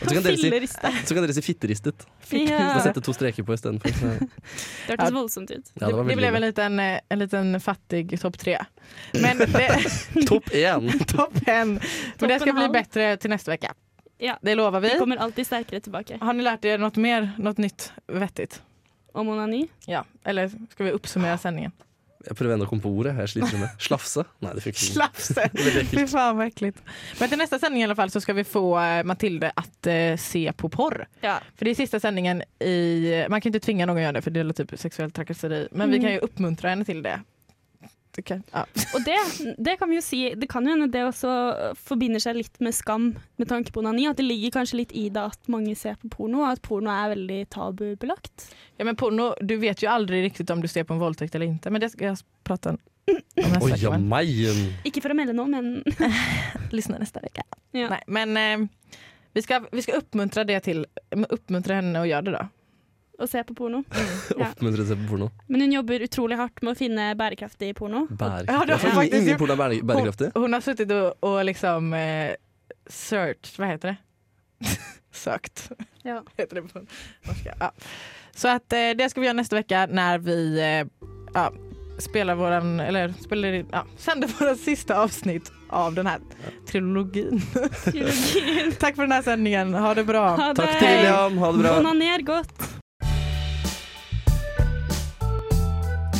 Speaker 3: Så kan dere si,
Speaker 2: Filleriste.
Speaker 3: så kan dere si fitteristet.
Speaker 2: Ja.
Speaker 3: Da setter jeg to streker på istedenfor.
Speaker 2: Det hørtes voldsomt ut.
Speaker 3: Ja, det var
Speaker 1: det, det
Speaker 3: veldig
Speaker 1: blev en
Speaker 3: bra.
Speaker 1: liten, eh, en liten fattig topp tre. Men det,
Speaker 3: Topp én!
Speaker 1: toppen. Men det ska
Speaker 2: Toppen
Speaker 1: bli
Speaker 2: halv.
Speaker 1: bättre till nästa vecka.
Speaker 2: Ja.
Speaker 1: Det lovar
Speaker 2: Vi
Speaker 1: vi.
Speaker 2: kommer alltid sterkere tilbake.
Speaker 1: Har ni lärt er något mer, något nytt vettigt?
Speaker 2: om onani.
Speaker 1: Ja. Eller ska vi
Speaker 2: Ah.
Speaker 1: oppsummere sendingen?
Speaker 3: Jeg prøver ennå å komme på ordet. Jeg sliter med Slafse? Nei, det funker ikke.
Speaker 1: Slafse!
Speaker 3: Det blir ekkelt.
Speaker 1: Fy fan vad äckligt. Men till nästa sändning i alla fall så ska vi få eh, Matilde att eh, se på porr.
Speaker 2: Ja.
Speaker 1: För det är sista sändningen i... Man kan ju inte tvinga någon att göra det för det är typ sexuellt trakasseri. Men vi
Speaker 2: Mm.
Speaker 1: kan ju uppmuntra henne till det. Det kan, ja.
Speaker 2: Og det, det kan vi jo si, det kan jo hende det også forbinder seg litt med skam med tanke på onani. At det ligger kanskje litt i det at mange ser på porno, og at porno er veldig tabubelagt.
Speaker 1: ja men porno, du vet ju aldrig riktigt om du ser på en våldtäkt eller inte. Men det ska jag prata om nästa
Speaker 3: Oi, ja,
Speaker 1: gång.
Speaker 3: meg.
Speaker 2: Ikke for å melde noe, men
Speaker 1: Lyssna nästa vecka.
Speaker 2: Ja.
Speaker 1: Nej, men eh, vi, ska, vi ska uppmuntra det till... Uppmuntra henne att göra det då.
Speaker 2: å se på porno. Ja.
Speaker 3: Oppmuntre til å se på porno.
Speaker 2: Men hun jobber utrolig hardt med å finne bærekraftig porno.
Speaker 1: Ja,
Speaker 3: Bærekraftig.
Speaker 1: det har
Speaker 3: Jeg
Speaker 1: jeg
Speaker 3: tror ingen,
Speaker 1: faktisk
Speaker 3: ingen
Speaker 1: gjort.
Speaker 3: porno er bære- bærekraftig.
Speaker 1: Hon, hon har suttit och, och liksom eh, searched, vad heter det? Sökt.
Speaker 2: Ja.
Speaker 1: Heter det på norska. Ja. Så att eh, det ska vi göra nästa vecka när vi eh, ja, spelar våran, eller spelar, in- ja, sänder våra sista avsnitt av den här trilogin.
Speaker 2: Kirurgien.
Speaker 1: Tack för den här sändningen, ha det bra.
Speaker 2: Ha
Speaker 3: Takk til
Speaker 2: det.
Speaker 3: William, ha det bra.
Speaker 2: Onaner godt.